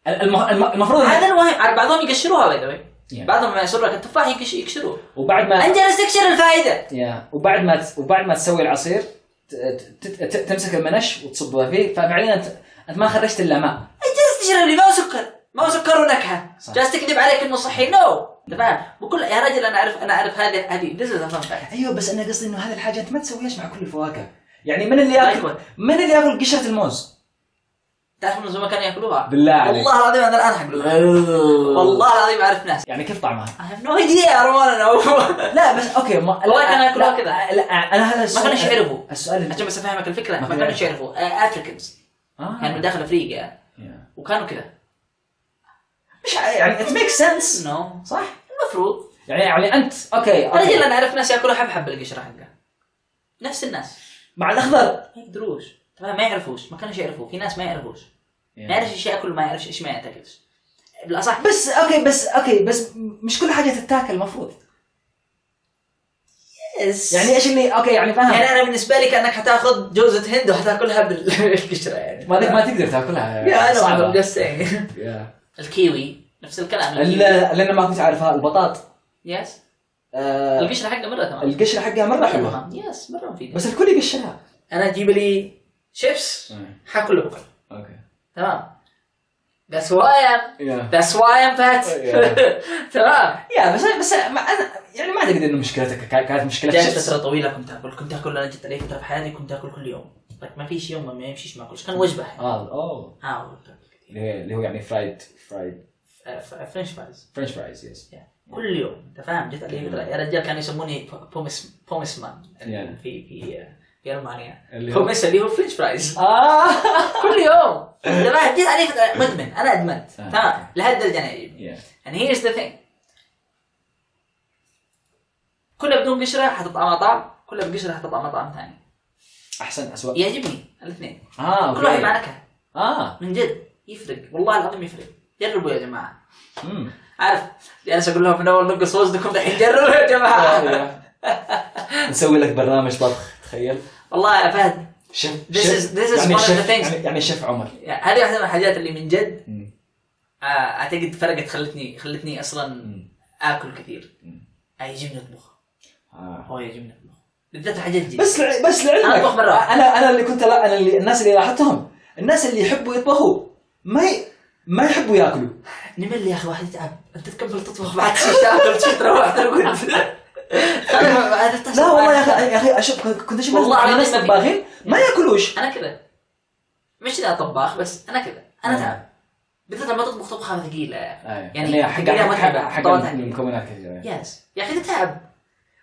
الم- الم- المفروض
هذا المهم على بعضهم يقشروها باي ذا
Yeah.
بعضهم لما يصير لك التفاح يقش- يقشروه
وبعد ما
انت جالس تقشر الفائده
يا وبعد ما تس- وبعد ما تسوي العصير ت- ت- ت- تمسك المنش وتصبها فيه ففعليا انت انت ما خرجت الا ماء
انت جالس تشرب لي ما هو سكر ما هو سكر ونكهه
صح.
جالس تكذب عليك انه صحي نو تمام بكل يا رجل انا اعرف انا اعرف هذه هذه ذيس از
ايوه بس انا قصدي انه هذه الحاجه انت ما تسويهاش مع كل الفواكه يعني من اللي ياكل
أيوة.
من اللي ياكل قشره الموز
تعرف انه زمان كانوا ياكلوها
بالله عليك
والله العظيم انا الان حقلوها والله العظيم اعرف ناس
يعني كيف طعمها؟
I have no idea يا رومان انا
لا بس اوكي ما
والله كانوا ياكلوها
لا-
كذا.
لا انا هذا السؤال
كانوش يعرفوا.
السؤال اللي-
عشان بس افهمك الفكره
ما
ما
كانوا
كانوش يعرفوا افريكانز
آه. يعني
كانوا من داخل افريقيا
يا.
وكانوا كذا
مش ع- يعني ات ميك سنس
نو
صح؟
المفروض
يعني يعني انت اوكي
يا رجل
اوكي
انا اعرف ناس ياكلوا حب حب القشره حقها نفس الناس
مع الاخضر
ما يقدروش تمام ما يعرفوش ما كانوش يعرفوا في ناس ما يعرفوش
يعني.
ما يعرفش ايش ياكل وما يعرفش ايش ما ياكلش بالاصح
بس اوكي بس اوكي بس مش كل حاجه تتاكل المفروض
بس
يعني
يعني
ايش اللي اوكي يعني
يعني
فاهم
انا بالنسبه لي كانك حتاخذ جوزه هند وحتاكلها بال- بالقشره يعني
ما ما تقدر تاكلها
يا انا
آه. صعبة.
واحد بس يعني.
يا.
الكيوي نفس الكلام الكيوي
الا لان ما كنت عارفها البطاط
يس
آه،
القشره حقه مره تمام
القشره حقها مره حلوه
تمام يس مره مفيده
بس الكل يقشرها
انا اجيب لي شيبس
آه،
حاكله بكره
اوكي
تمام That's why I'm
يا
That's why I'm fat
Oh,
Yeah.
تمام
يا بس بس ما انا يعني ما اعتقد انه مشكلتك كا- كانت مشكله
جات
شيبس
فترة طويلة كنت اكل كنت اكل انا جت علي فترة في حياتي كنت اكل كل يوم طيب ما فيش يوم ما يمشيش ما اكلش كان وجبة
اه اوه
اه
اللي هي- اللي هو يعني فرايد فرايد
آه، فرنش فرايز
فرنش فرايز يس
كل يوم انت فاهم جت علي فترة يا رجال كانوا يسموني بومس بومس مان
Yeah.
يعني في في آه، في المانيا
اللي هو-
بومس اللي هو فرنش فرايز
اه
كل يوم انت فاهم جت علي فترة مدمن انا ادمنت
آه.
تمام لهالدرجة انا أجيب.
يا
And here's the thing كلها بدون قشرة حتطعم مطعم كلها بقشرة حتطعم مطعم ثاني
احسن اسوء
يعجبني الاثنين
اه
كل واحد مع
اوكي
نكهة
اه
من جد يفرق والله العظيم يفرق جربوا يا جماعة
مم.
عارف جالس اقول لهم من اول نقص وزنكم دحين جربوا يا جماعة
آه، يا. نسوي لك برنامج طبخ تخيل
والله يا فهد
شيف
This
شيف-
is- this is
يعني
one of the
شيف-
things-
يعني- يعني شيف عمر
يعني هذه واحدة من الحاجات اللي من جد
مم.
آه، اعتقد فرقت خلتني خلتني اصلا
مم.
اكل كثير
مم.
آه، يعجبني اطبخ
آه.
هو يعجبني اطبخ بالذات الحاجات الجديدة
بس لع- بس
أنا
لعلمك
أطبخ مرة واحدة.
انا انا اللي كنت لا انا اللي الناس اللي لاحظتهم الناس اللي يحبوا يطبخوا ما ي... ما يحبوا ياكلوا
نمل يا اخي واحد يتعب انت تكمل تطبخ بعد شي تاكل شي تروح ترقد
لا والله يا اخي يا اخي اشوف كنت اشوف
والله
ناس-
العظيم
ناس
ما في.
طباخين ما ياكلوش
انا كذا ما مش ذا طباخ بس انا كذا انا
آه.
تعب بالذات لما تطبخ طبخه ثقيله يا أخي.
أيوة.
يعني
اللي هي حق
تقريباً
حق-
متعبة،
حق- حق
خطوات عالية.
المكونات كثيره يعني.
يس يا اخي تتعب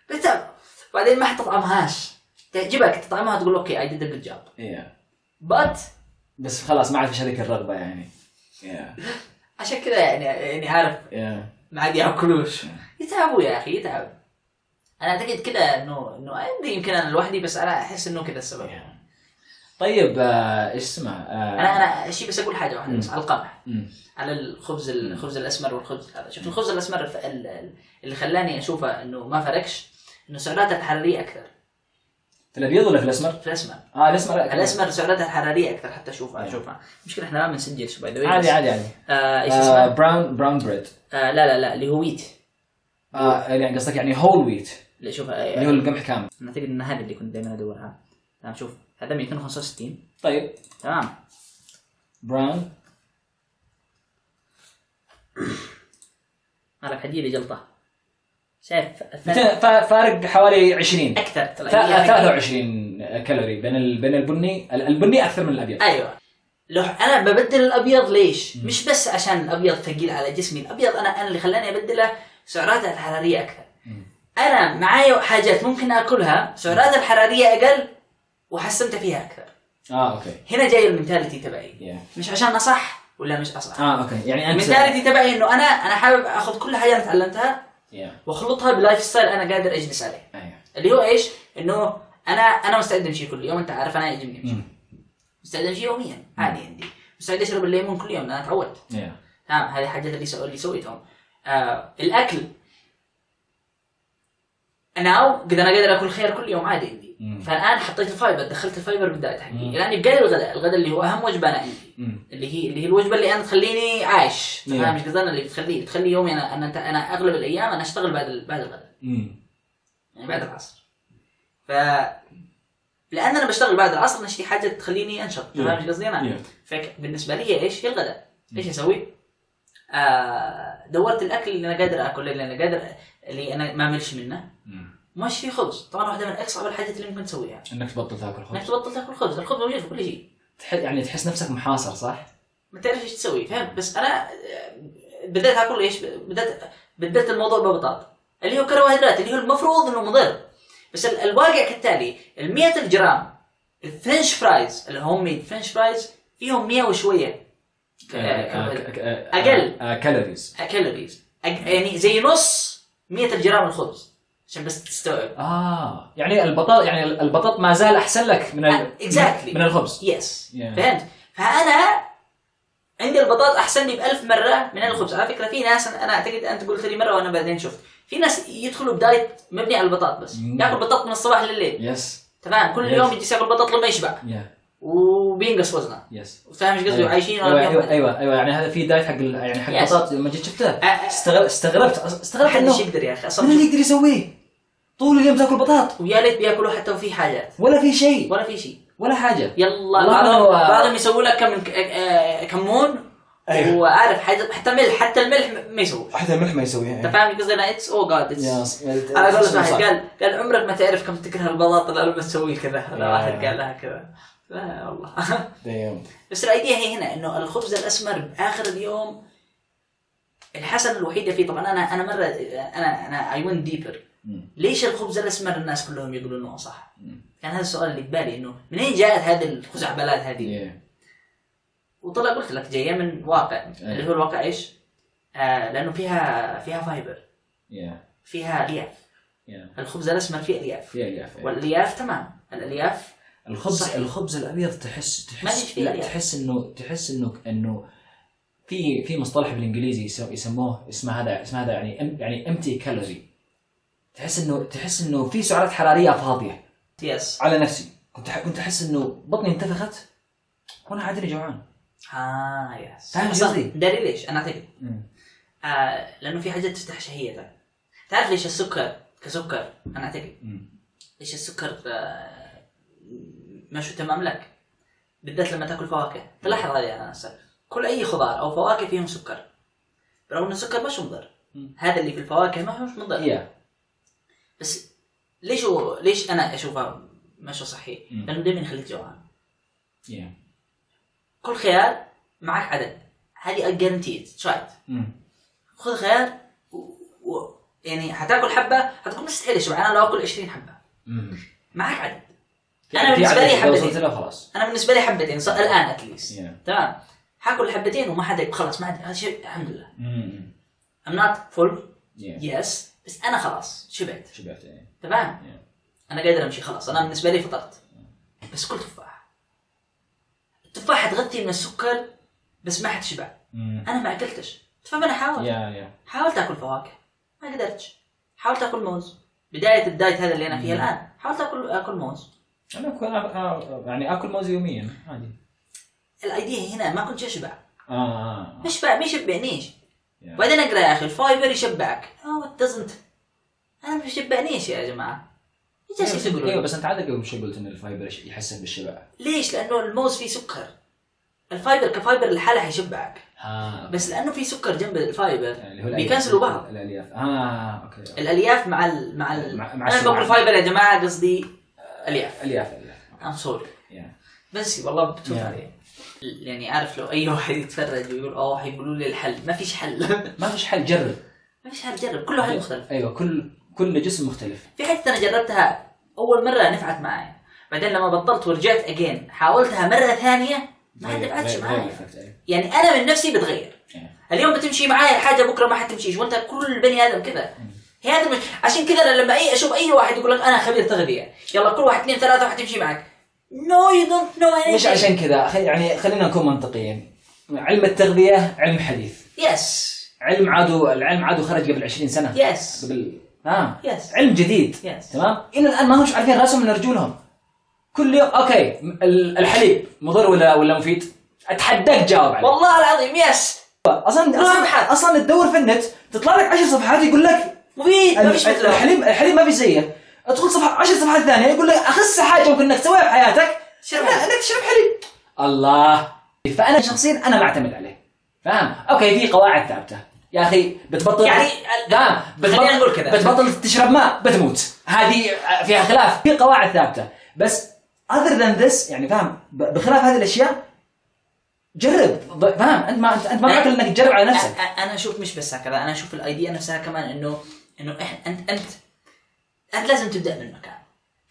تتعب بعدين ما حتطعمهاش تعجبك تطعمها تقول اوكي اي ديد ا جود جاب
إيه.
بات
بس خلاص ما عاد فيش هذيك الرغبه يعني
إيه.
عشان كذا يعني يعني عارف
إيه.
ما عاد ياكلوش يتعبوا يا اخي يتعب انا اعتقد كذا انه انه ما أدري يمكن انا لوحدي بس انا احس انه كذا السبب
إيه. طيب آه، ايش اسمه
انا
آه،
انا شيء بس اقول حاجه واحده بس على القمح
مم.
على الخبز الخبز الاسمر والخبز هذا شوف الخبز الاسمر ف- ال- ال- اللي خلاني اشوفه انه ما فرقش انه سعراته الحراريه اكثر
في الابيض ولا في الاسمر؟
في الاسمر
اه الاسمر لا،
الاسمر سعراتها الحراريه اكثر حتى اشوفها
أيوة.
اشوفها مشكله احنا ما بنسجلش باي ذا
عادي عادي عادي
ايش
آه،
اسمها؟
براون براون بريد
آه لا لا لا اللي هو ويت
اه يعني قصدك يعني هول ويت
اللي شوف آه،
اللي هو القمح كامل
انا اعتقد ان هذا اللي كنت دائما ادورها تمام شوف هذا 265
طيب
تمام
براون
انا بحدي لي جلطه شايف الثاني
متى- فا- فارق حوالي 20
اكثر
ثا-
ترى. يعني-
23 كالوري بين ال- بين البني ال- البني اكثر من الابيض
ايوه لو انا ببدل الابيض ليش؟ مش بس عشان الابيض ثقيل على جسمي، الابيض انا انا اللي خلاني ابدله سعراته الحراريه اكثر. انا معايا حاجات ممكن اكلها سعراتها الحراريه اقل وحستمتع فيها اكثر.
اه اوكي
هنا جاي المنتاليتي تبعي
Yeah.
مش عشان اصح ولا مش اصح
اه اوكي يعني انت
المنتاليتي تبعي انه انا انا حابب اخذ كل حاجه انا تعلمتها
Yeah.
واخلطها بلايف ستايل انا قادر اجلس عليه
أيوة.
اللي هو ايش؟ انه انا انا مستعد امشي كل يوم انت عارف انا يعجبني امشي
مم.
مستعد امشي يوميا عادي عندي مستعد اشرب الليمون كل يوم انا تعودت
Yeah.
تمام هذه الحاجات اللي سو... اللي سويتهم آه الاكل انا قد انا قادر اكل خيار كل يوم عادي عندي
مم.
فالان حطيت الفايبر دخلت الفايبر بالدايت حقي
مم.
الان يبقى لي الغداء الغداء اللي هو اهم وجبه انا عندي
مم.
اللي هي اللي هي الوجبه اللي انا تخليني عايش
نعم.
فاهم ايش قصدي أنا اللي بتخلي بتخلي يومي انا انا انا اغلب الايام انا اشتغل بعد ال- بعد الغداء
مم.
يعني بعد العصر ف لان انا بشتغل بعد العصر انا اشتري حاجه تخليني انشط
نعم.
فاهم ايش قصدي انا؟
Yeah.
فبالنسبه لي هي ايش؟ هي الغداء ايش اسوي؟ آه دورت الاكل اللي انا قادر اكله اللي انا قادر اللي انا ما ملش منه
مم.
مش في خبز طبعا واحده من اصعب الحاجات اللي ممكن تسويها
انك تبطل تاكل
انك
خبز
تبطل تاكل خبز الخبز موجود في كل شيء
تح- يعني تحس نفسك محاصر صح؟
ما تعرف ايش تسوي فهمت بس انا آه، بديت اكل ايش بديت بديت الموضوع ببطاط اللي هو كربوهيدرات اللي هو المفروض انه مضر بس ال- الواقع كالتالي ال 100 الجرام الفرنش فرايز الهوم ميد فرنش فرايز فيهم 100 وشويه
آه،
ك- كربوهيدرات. آه، أقل.
كالوريز
كالوريز أج- يعني زي نص 100 جرام الخبز عشان بس تستوعب
اه يعني البطاط يعني البطاط ما زال احسن لك من ال...
آه، exactly.
من الخبز
يس
Yeah.
فهمت فانا عندي البطاط احسن لي بألف مره من الخبز على فكره في ناس انا اعتقد انت قلت لي مره وانا بعدين شفت في ناس يدخلوا بدايت مبني على البطاط بس
Mm.
ياكل بطاط من الصباح لليل
يس
تمام كل
Yes.
يوم يجلس ياكل بطاط لما يشبع
يا
وبينقص وزنه
يس
فاهم ايش قصدي وعايشين
ايوه
ولا
ايوه,
بيهم-
أيوة, أيوة يعني هذا في دايت حق ال- يعني حق
Yes.
البطاط لما جيت شفته
آه، آه.
استغربت استغربت
ما
استغربت
حدش
انه
يقدر يا اخي
من اللي
اصلا
يقدر يسويه؟ طول اليوم تاكل بطاط
ويا ليت بياكلوا حتى وفي حاجات
ولا في شيء
ولا في شيء
ولا حاجه
يلا
والله
بعضهم
هو-
بعضهم يسووا لك كم آه، كمون
أيوه.
وعارف حاجة- حتى ملح حتى الملح م- ما يسووه
حتى ملح ما يسويها إيه.
انت فاهم قصدي انا اتس او جاد
أيوه. يا
اتس
ص- يا-
على قول
صح- صح.
واحد قال قال عمرك ما تعرف كم تكره البلاط الا لما تسوي كذا هذا
يا.
واحد قال لها كذا لا والله
دايم.
بس الايديا هي هنا انه الخبز الاسمر باخر اليوم الحسنه الوحيده فيه طبعا انا انا مره انا انا اي ونت ديبر
مم.
ليش الخبز الاسمر الناس كلهم يقولون انه صح؟
مم.
كان هذا السؤال اللي ببالي انه منين جاءت هذه الخزعبلات هذه؟
يا.
وطلع قلت لك جايه من واقع اللي هو الواقع ايش؟ آه لانه فيها فيها فايبر
يا.
فيها الياف
يا.
الخبز الاسمر فيه الياف
في ألياف.
والالياف تمام الالياف
الخبز
صحيح.
الخبز الابيض تحس
ما ليش
تحس
فيه
لا
ألياف.
تحس انه تحس انه انه في في مصطلح بالانجليزي يسم- يسموه اسمه هذا اسمه هذا يعني ام- يعني امتي كالوري تحس انه تحس انه في سعرات حراريه فاضيه
يس
على نفسي كنت أح- كنت احس انه بطني انتفخت وانا عادني جوعان
اه يس
فاهم
أصلاً
قصدي؟
داري ليش انا اعتقد آه لانه في حاجات تفتح شهيتك تعرف ليش السكر كسكر انا اعتقد ليش السكر آه مشو تمام لك بالذات لما تاكل فواكه تلاحظ هذه انا نفسك كل اي خضار او فواكه فيهم سكر برغم ان السكر مش مضر
مم. إيه.
هذا اللي في الفواكه ما هو مش مضر
يا
بس ليش هو ليش انا اشوفها مش صحي؟
مم.
لانه دائما يخليك جوعان
يا
كل خيار معك عدد هذه جارنتيد ترايد
مم.
خذ خيار و... و... يعني حتاكل حبه حتكون مستحيل شبع انا لو اكل 20 حبه
مم.
معك عدد
في
انا بالنسبه
عدد
لي
إذا وصلت
حبتين
له خلاص
انا بالنسبه لي حبتين ص- الان اتليست
Yeah.
تمام حاكل حبتين وما حدا خلاص ما حدا هذا شيء الحمد لله
مم.
I'm not full
Yeah.
يس بس انا خلاص شبعت
شبعت يعني
تمام
Yeah.
انا قادر امشي خلاص انا بالنسبه لي فطرت بس كل تفاحه التفاحه تغذي من السكر بس ما حتشبع
مم.
انا ما اكلتش فما انا حاولت
يا يا
حاولت اكل فواكه ما قدرتش حاولت اكل موز بدايه الدايت هذا اللي انا
مم.
فيه الان حاولت اكل اكل موز
انا أكل- أنا- يعني اكل موز يوميا عادي
الايديا هنا ما كنت اشبع
اه آه،
مش
آه.
شبع ما يشبعنيش
Yeah.
بعدين اقرا يا اخي الفايبر يشبعك Oh, هو دزنت انا ما يشبعنيش يا جماعه ايش جالسين تقولوا لي؟
ايوه بس انت عادة قبل شوي قلت ان الفايبر يحسن بالشبع
ليش؟ لانه الموز فيه سكر الفايبر كفايبر لحاله حيشبعك
اه
بس لانه في سكر جنب الفايبر
آه، اللي هو الألياف.
بيكنسلوا بعض
الالياف اه اوكي أوكي.
الالياف مع ال مع ال
مع- مع
انا
السمعة.
بقول فايبر يا جماعه قصدي الياف
الياف الياف
ام سوري
يا.
بس والله بتوه
Yeah.
عليه يعني عارف لو اي واحد يتفرج ويقول اوه حيقولوا لي الحل ما فيش حل
ما فيش حل جرب
ما فيش حل جرب كله حل مختلف
ايوه كل كل جسم مختلف
في حته انا جربتها اول مره نفعت معي بعدين لما بطلت ورجعت اجين حاولتها مره ثانيه ما
غير-
نفعتش
غير- غير
معي
effect، أيوة.
يعني انا من نفسي بتغير
إيه.
اليوم بتمشي معايا الحاجه بكره ما حتمشيش وانت كل بني ادم كذا هي هذا المش... عشان كذا أنا لما اي اشوف اي واحد يقول لك انا خبير تغذيه يلا كل واحد اثنين ثلاثه وحتمشي معك نو يو دونت نو
مش عشان كذا خل- يعني خلينا نكون منطقيين علم التغذيه علم حديث
يس
علم عادو العلم عادو خرج قبل 20 سنه
يس
قبل اه
يس
علم جديد
Yes.
تمام الى الان ما همش عارفين راسهم من رجولهم كل يوم اوكي م- ال- الحليب مضر ولا ولا مفيد اتحداك جاوب عليه
والله العظيم يس
اصلا
روح
اصلا
ابحث.
اصلا تدور في النت تطلع لك 10 صفحات يقول لك
مفيد ما فيش
ال-
مثله
الحليب الحليب ما في زيه ادخل صفحه 10 صفحات ثانيه يقول لك اخس حاجه ممكن انك تسويها في حياتك
شرب
إنك-
حليب.
انك تشرب حليب الله فانا شخصيا انا ما اعتمد عليه فاهم اوكي في قواعد ثابته يا اخي بتبطل
يعني
نعم
خلينا نقول كذا.
بتبطل تشرب ماء بتموت هذه فيها خلاف في قواعد ثابته بس other than this يعني فاهم ب- بخلاف هذه الاشياء جرب ض- فاهم انت ما انت أنت ما
أه.
معك إلا انك تجرب على
أ-
نفسك
أ- انا اشوف مش بس هكذا انا اشوف الايديا نفسها كمان انه انه إح- انت انت انت لازم تبدا من مكان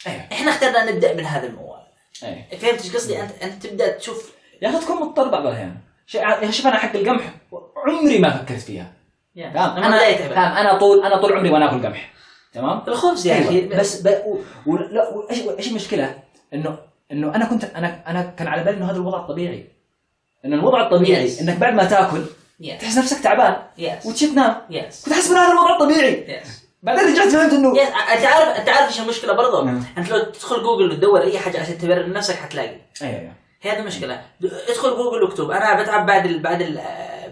ايه
احنا اخترنا نبدا من هذا الموال
ايه
فهمت ايش قصدي انت انت تبدا تشوف
يا اخي تكون مضطر بعض الاحيان شي- يا أخي شوف انا حق القمح عمري ما فكرت فيها تمام
لما بدأت
انا
أبدأ.
تمام انا طول انا طول عمري وانا اكل قمح تمام
الخبز يعني. يا اخي
أيوة. بس ب... و... و... لا و... ايش ايش المشكله؟ انه انه انا كنت انا انا كان على بالي انه هذا الوضع الطبيعي انه الوضع الطبيعي
Yes.
انك بعد ما تاكل
يس
تحس نفسك تعبان
يس
وتشي تنام
يس
كنت احس ان هذا الوضع الطبيعي
يس
بعدين رجعت فهمت انه
يس انت عارف انت عارف ايش المشكله برضه
نعم.
انت لو تدخل جوجل وتدور اي حاجه عشان تبرر نفسك حتلاقي
ايوه ايوه
هي هذه المشكله د- ادخل جوجل واكتب انا بتعب بعد ال... بعد ال...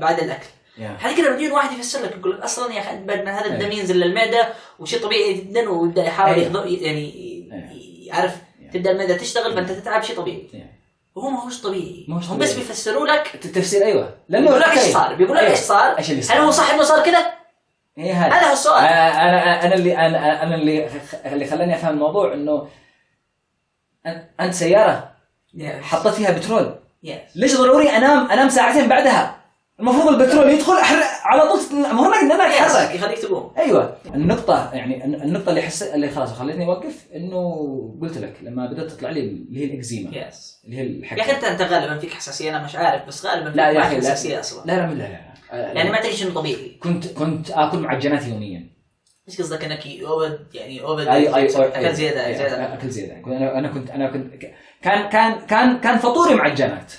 بعد الاكل
يا.
حتى كده بدون واحد يفسر لك يقول لك اصلا يا اخي أنت بعد ما هذا
أيوة.
الدم ينزل للمعده وشيء طبيعي جدا ويبدا يحاول
أيوة.
يحضر يعني
أيوة.
يعرف
أيوة.
تبدا المعده تشتغل فانت تتعب شيء طبيعي
يا.
وهو ما هوش طبيعي
ما هوش
هم
طبيعي.
بس بيفسروا لك
التفسير ايوه لانه
بيقول لك ايش
أوكي.
صار بيقول لك
أيوة.
ايش صار
ايش اللي صار؟
هل هو صح انه صار كذا؟
هي إيه، هذا
هذا هو السؤال.
آه، انا انا اللي انا انا اللي خ- اللي خلاني افهم الموضوع انه أن- انت سياره حطيت فيها بترول
يس
ليش ضروري انام انام ساعتين بعدها المفروض البترول يدخل أحرق على طول المهم ان انا اتحرك
يخليك تقوم
ايوه النقطة يعني الن- النقطة اللي حس اللي خلاص خلتني اوقف انه قلت لك لما بدات تطلع لي اللي هي الاكزيما
يس
اللي هي الحكة
يا اخي انت انت غالبا فيك حساسيه انا مش عارف بس غالبا
لا
فيك
يا
معك
اخي لا
حساسيه اصلا
لا لا لا لا, لا.
يعني ما تدري شنو طبيعي
كنت كنت اكل معجنات يوميا
ايش قصدك انك اوفر يعني اوفر
اي اي
اكل زياده زياده
اكل زيادة انا أنا كنت انا كنت ك- كان كان كان كان فطوري معجنات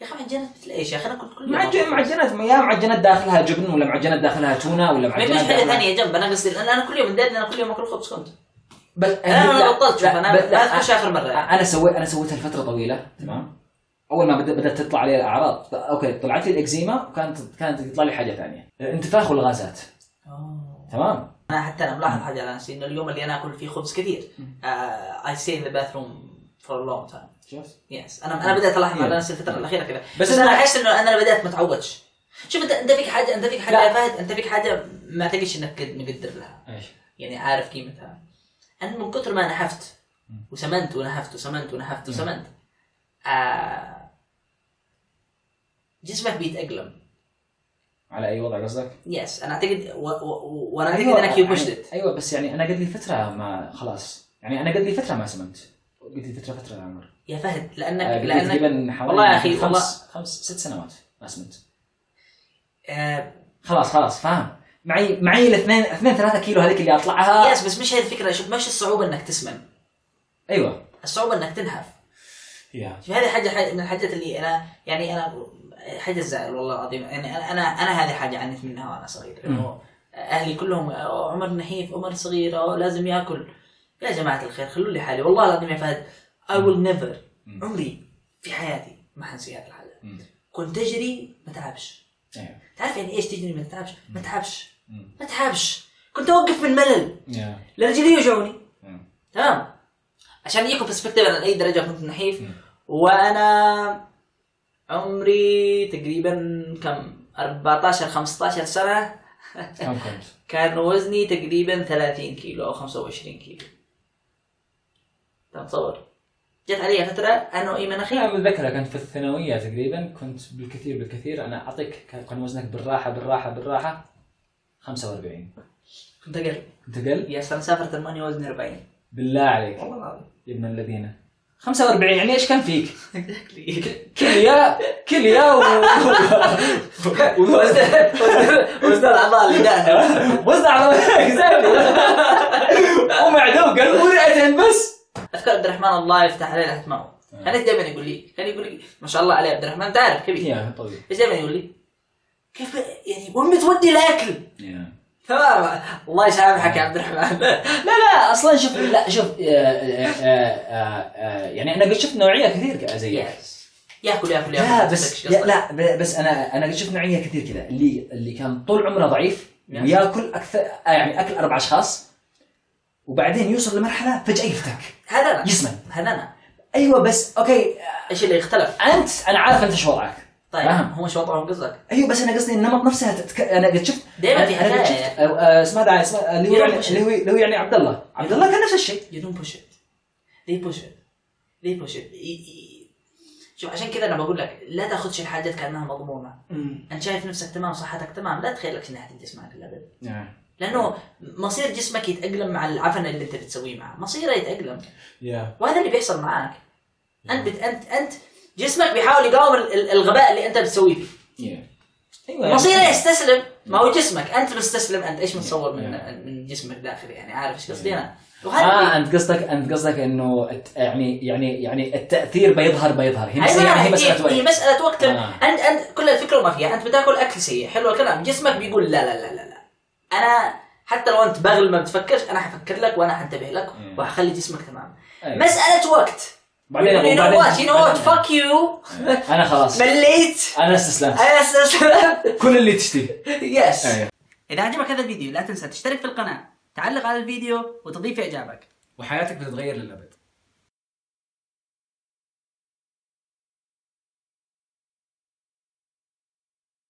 يا اخي معجنات مثل ايش يا اخي انا كنت كل يوم
معجن معجنات يا معجنات داخلها جبن ولا معجنات داخلها تونة ولا
ما
معجنات
يجيش حاجه
داخلها-
ثانيه جنب انا قصدي لان انا كل يوم متضايق إن انا كل يوم اكل خبز كنت
بس لا-
انا ما بطلت شوف
لا-
انا
بس-
ما تخش اخر مره يعني.
انا سويت انا سويتها لفتره طويله تمام اول ما بدأ- بدات تطلع علي الاعراض ط- اوكي طلعت لي الاكزيما وكانت كانت تطلع لي حاجه ثانيه انتفاخ والغازات آه. تمام
انا حتى انا ملاحظ حاجه على نفسي انه اليوم اللي انا اكل فيه خبز آه، كثير اي ستي ان ذا باثروم فور ا لونج تايم
شفت
يس انا انا بدات الاحظ على
Yeah.
نفسي الفتره الاخيره كذا
بس
بس,
أنا-
انا احس انه انا بدات ما اتعودش شوف انت انت فيك حاجه انت فيك حاجه
لا.
يا فهد انت فيك حاجه ما تجيش انك قد- مقدر لها
ايش
يعني عارف قيمتها انا من كثر ما نحفت وسمنت ونحفت وسمنت ونحفت وسمنت آه جسمك بيتاقلم
على اي وضع قصدك؟
يس انا اعتقد و- و- و- وانا اعتقد
أيوة،
انك يو بوشت
يعني- ايوه بس يعني انا قد لي فتره ما خلاص يعني انا قد لي فتره ما سمنت قد لي فتره فتره يا عمر
يا فهد
آه، قد
لانك
لي
لانك
تقريبا حوالي
والله يا أخي،
خمس
والله-
خمس ست سنوات ما سمنت
آه،
خلاص خلاص فاهم معي معي الاثنين اثنين ثلاثة كيلو هذيك اللي اطلعها
يس بس مش هي الفكره شوف مش الصعوبه انك تسمن
ايوه
الصعوبه انك تنهف
يا
شوف هذه حاجه حاجة- من الحاجات اللي انا يعني انا حاجه تزعل والله العظيم يعني انا انا انا هذه حاجه عنيت منها وانا صغير انه اهلي كلهم "أوه، عمر نحيف عمر صغير أوه، لازم ياكل يا جماعه الخير خلوا لي حالي والله العظيم يا فهد I will never
مم.
عمري في حياتي ما حنسي هذه الحاجه
مم.
كنت تجري ما تعبش
ايوه
تعرف يعني ايش تجري ما تعبش ما تعبش
مم.
ما تعبش كنت اوقف من ملل
يا
لا رجلي يوجعوني
مم.
تمام عشان يجيكم برسبكتيف انا لاي درجه كنت نحيف
مم.
وانا عمري تقريبا كم 14 15 سنه
كم كنت؟
كان وزني تقريبا 30 كيلو او 25 كيلو أنت متصور جت علي فتره انا وايمن اخي
انا متذكره كنت في الثانويه تقريبا كنت بالكثير بالكثير انا اعطيك كان كان وزنك بالراحه بالراحه بالراحه 45
كنت اقل
كنت اقل؟
يا انا سافرت المانيا وزني 40
بالله عليك
والله العظيم
يا ابن الذين 45 يعني ايش كان فيك؟
شكلي
كليا كليا و...
وزن وزن الاعضاء اللي داخل
وزن على ومعدوم قال ورئتين بس
اذكر عبد الرحمن الله يفتح عليه رحمه كان دائما يقول لي كان يقول لي ما شاء الله عليه عبد الرحمن تعرف كبير
يا طبيعي
ايش دائما يقول لي؟ كيف يعني وين بتودي الاكل؟ تمام الله يسامحك يا عبد الرحمن
لا لا اصلا شوف لا شوف آه، آه، آه، آه، يعني احنا قد شفت نوعيه كثير كذا زي
يس ياكل ياكل ياكل
لا
ما
بس
تفكش
يا-
أصلاً.
لا ب- بس انا انا قد شفت نوعيه كثير كذا اللي اللي كان طول عمره ضعيف
يعني.
وياكل اكثر آه، يعني اكل اربع اشخاص وبعدين يوصل لمرحله فجاه يفتك
هذا انا
يسمن
هذا انا
ايوه بس اوكي
ايش اللي اختلف؟
انت انا عارف انت ايش وضعك
طيب
فاهم.
هو مش وضعهم قصدك
ايوه بس انا قصدي النمط نفسها تتك... انا قد شفت
دايما في
أنا- أنا قد
حكاية.
شفت- أو- آه، اسمه هذا اسمه اللي هو
يروح
يعني
مش-
اللي هو اللي هو يعني عبد الله عبد الله كان نفس الشيء
you don't push it they push it they push it ي- ي- شوف عشان كذا انا بقول لك لا تاخذش الحاجات كانها مضمونه انت شايف نفسك تمام صحتك تمام لا تخيل لك انها تنتهي معك الابد لانه مصير جسمك يتاقلم مع العفن اللي انت بتسويه معه مصيره يتاقلم
يا
وهذا اللي بيحصل معاك
نعم.
انت بت... انت انت جسمك بيحاول يقاوم ال- ال- الغباء اللي انت بتسويه فيه
أيوة
ايوه يعني-
مصيره يستسلم ما
نعم.
هو جسمك انت مستسلم انت ايش متصور من
Yeah.
من جسمك الداخلي يعني عارف ايش قصدي
Yeah.
انا وهذا
اه
اللي-
انت قصدك انت قصدك انه الت- يعني يعني يعني التاثير بيظهر بيظهر هي مساله
أيوة،
يعني هي مساله
هي
وقت
مساله وقت
آه.
انت انت كل الفكره ما فيها انت بتاكل اكل سيء حلو الكلام جسمك بيقول لا لا لا لا, لا. انا حتى لو انت باغل ما بتفكرش انا حفكر لك وانا حنتبه لك
Yeah.
وحخلي جسمك تمام
أيوة.
مساله وقت
بعدين
you know
بعدين-
what you know what
بعدين-
fuck you
انا خلاص
مليت
انا استسلمت
انا استسلمت
كل اللي تشتيه
يس
أيوة.
أيوه.
اذا عجبك هذا الفيديو لا تنسى تشترك في القناه تعلق على الفيديو وتضيف اعجابك
وحياتك بتتغير للأبد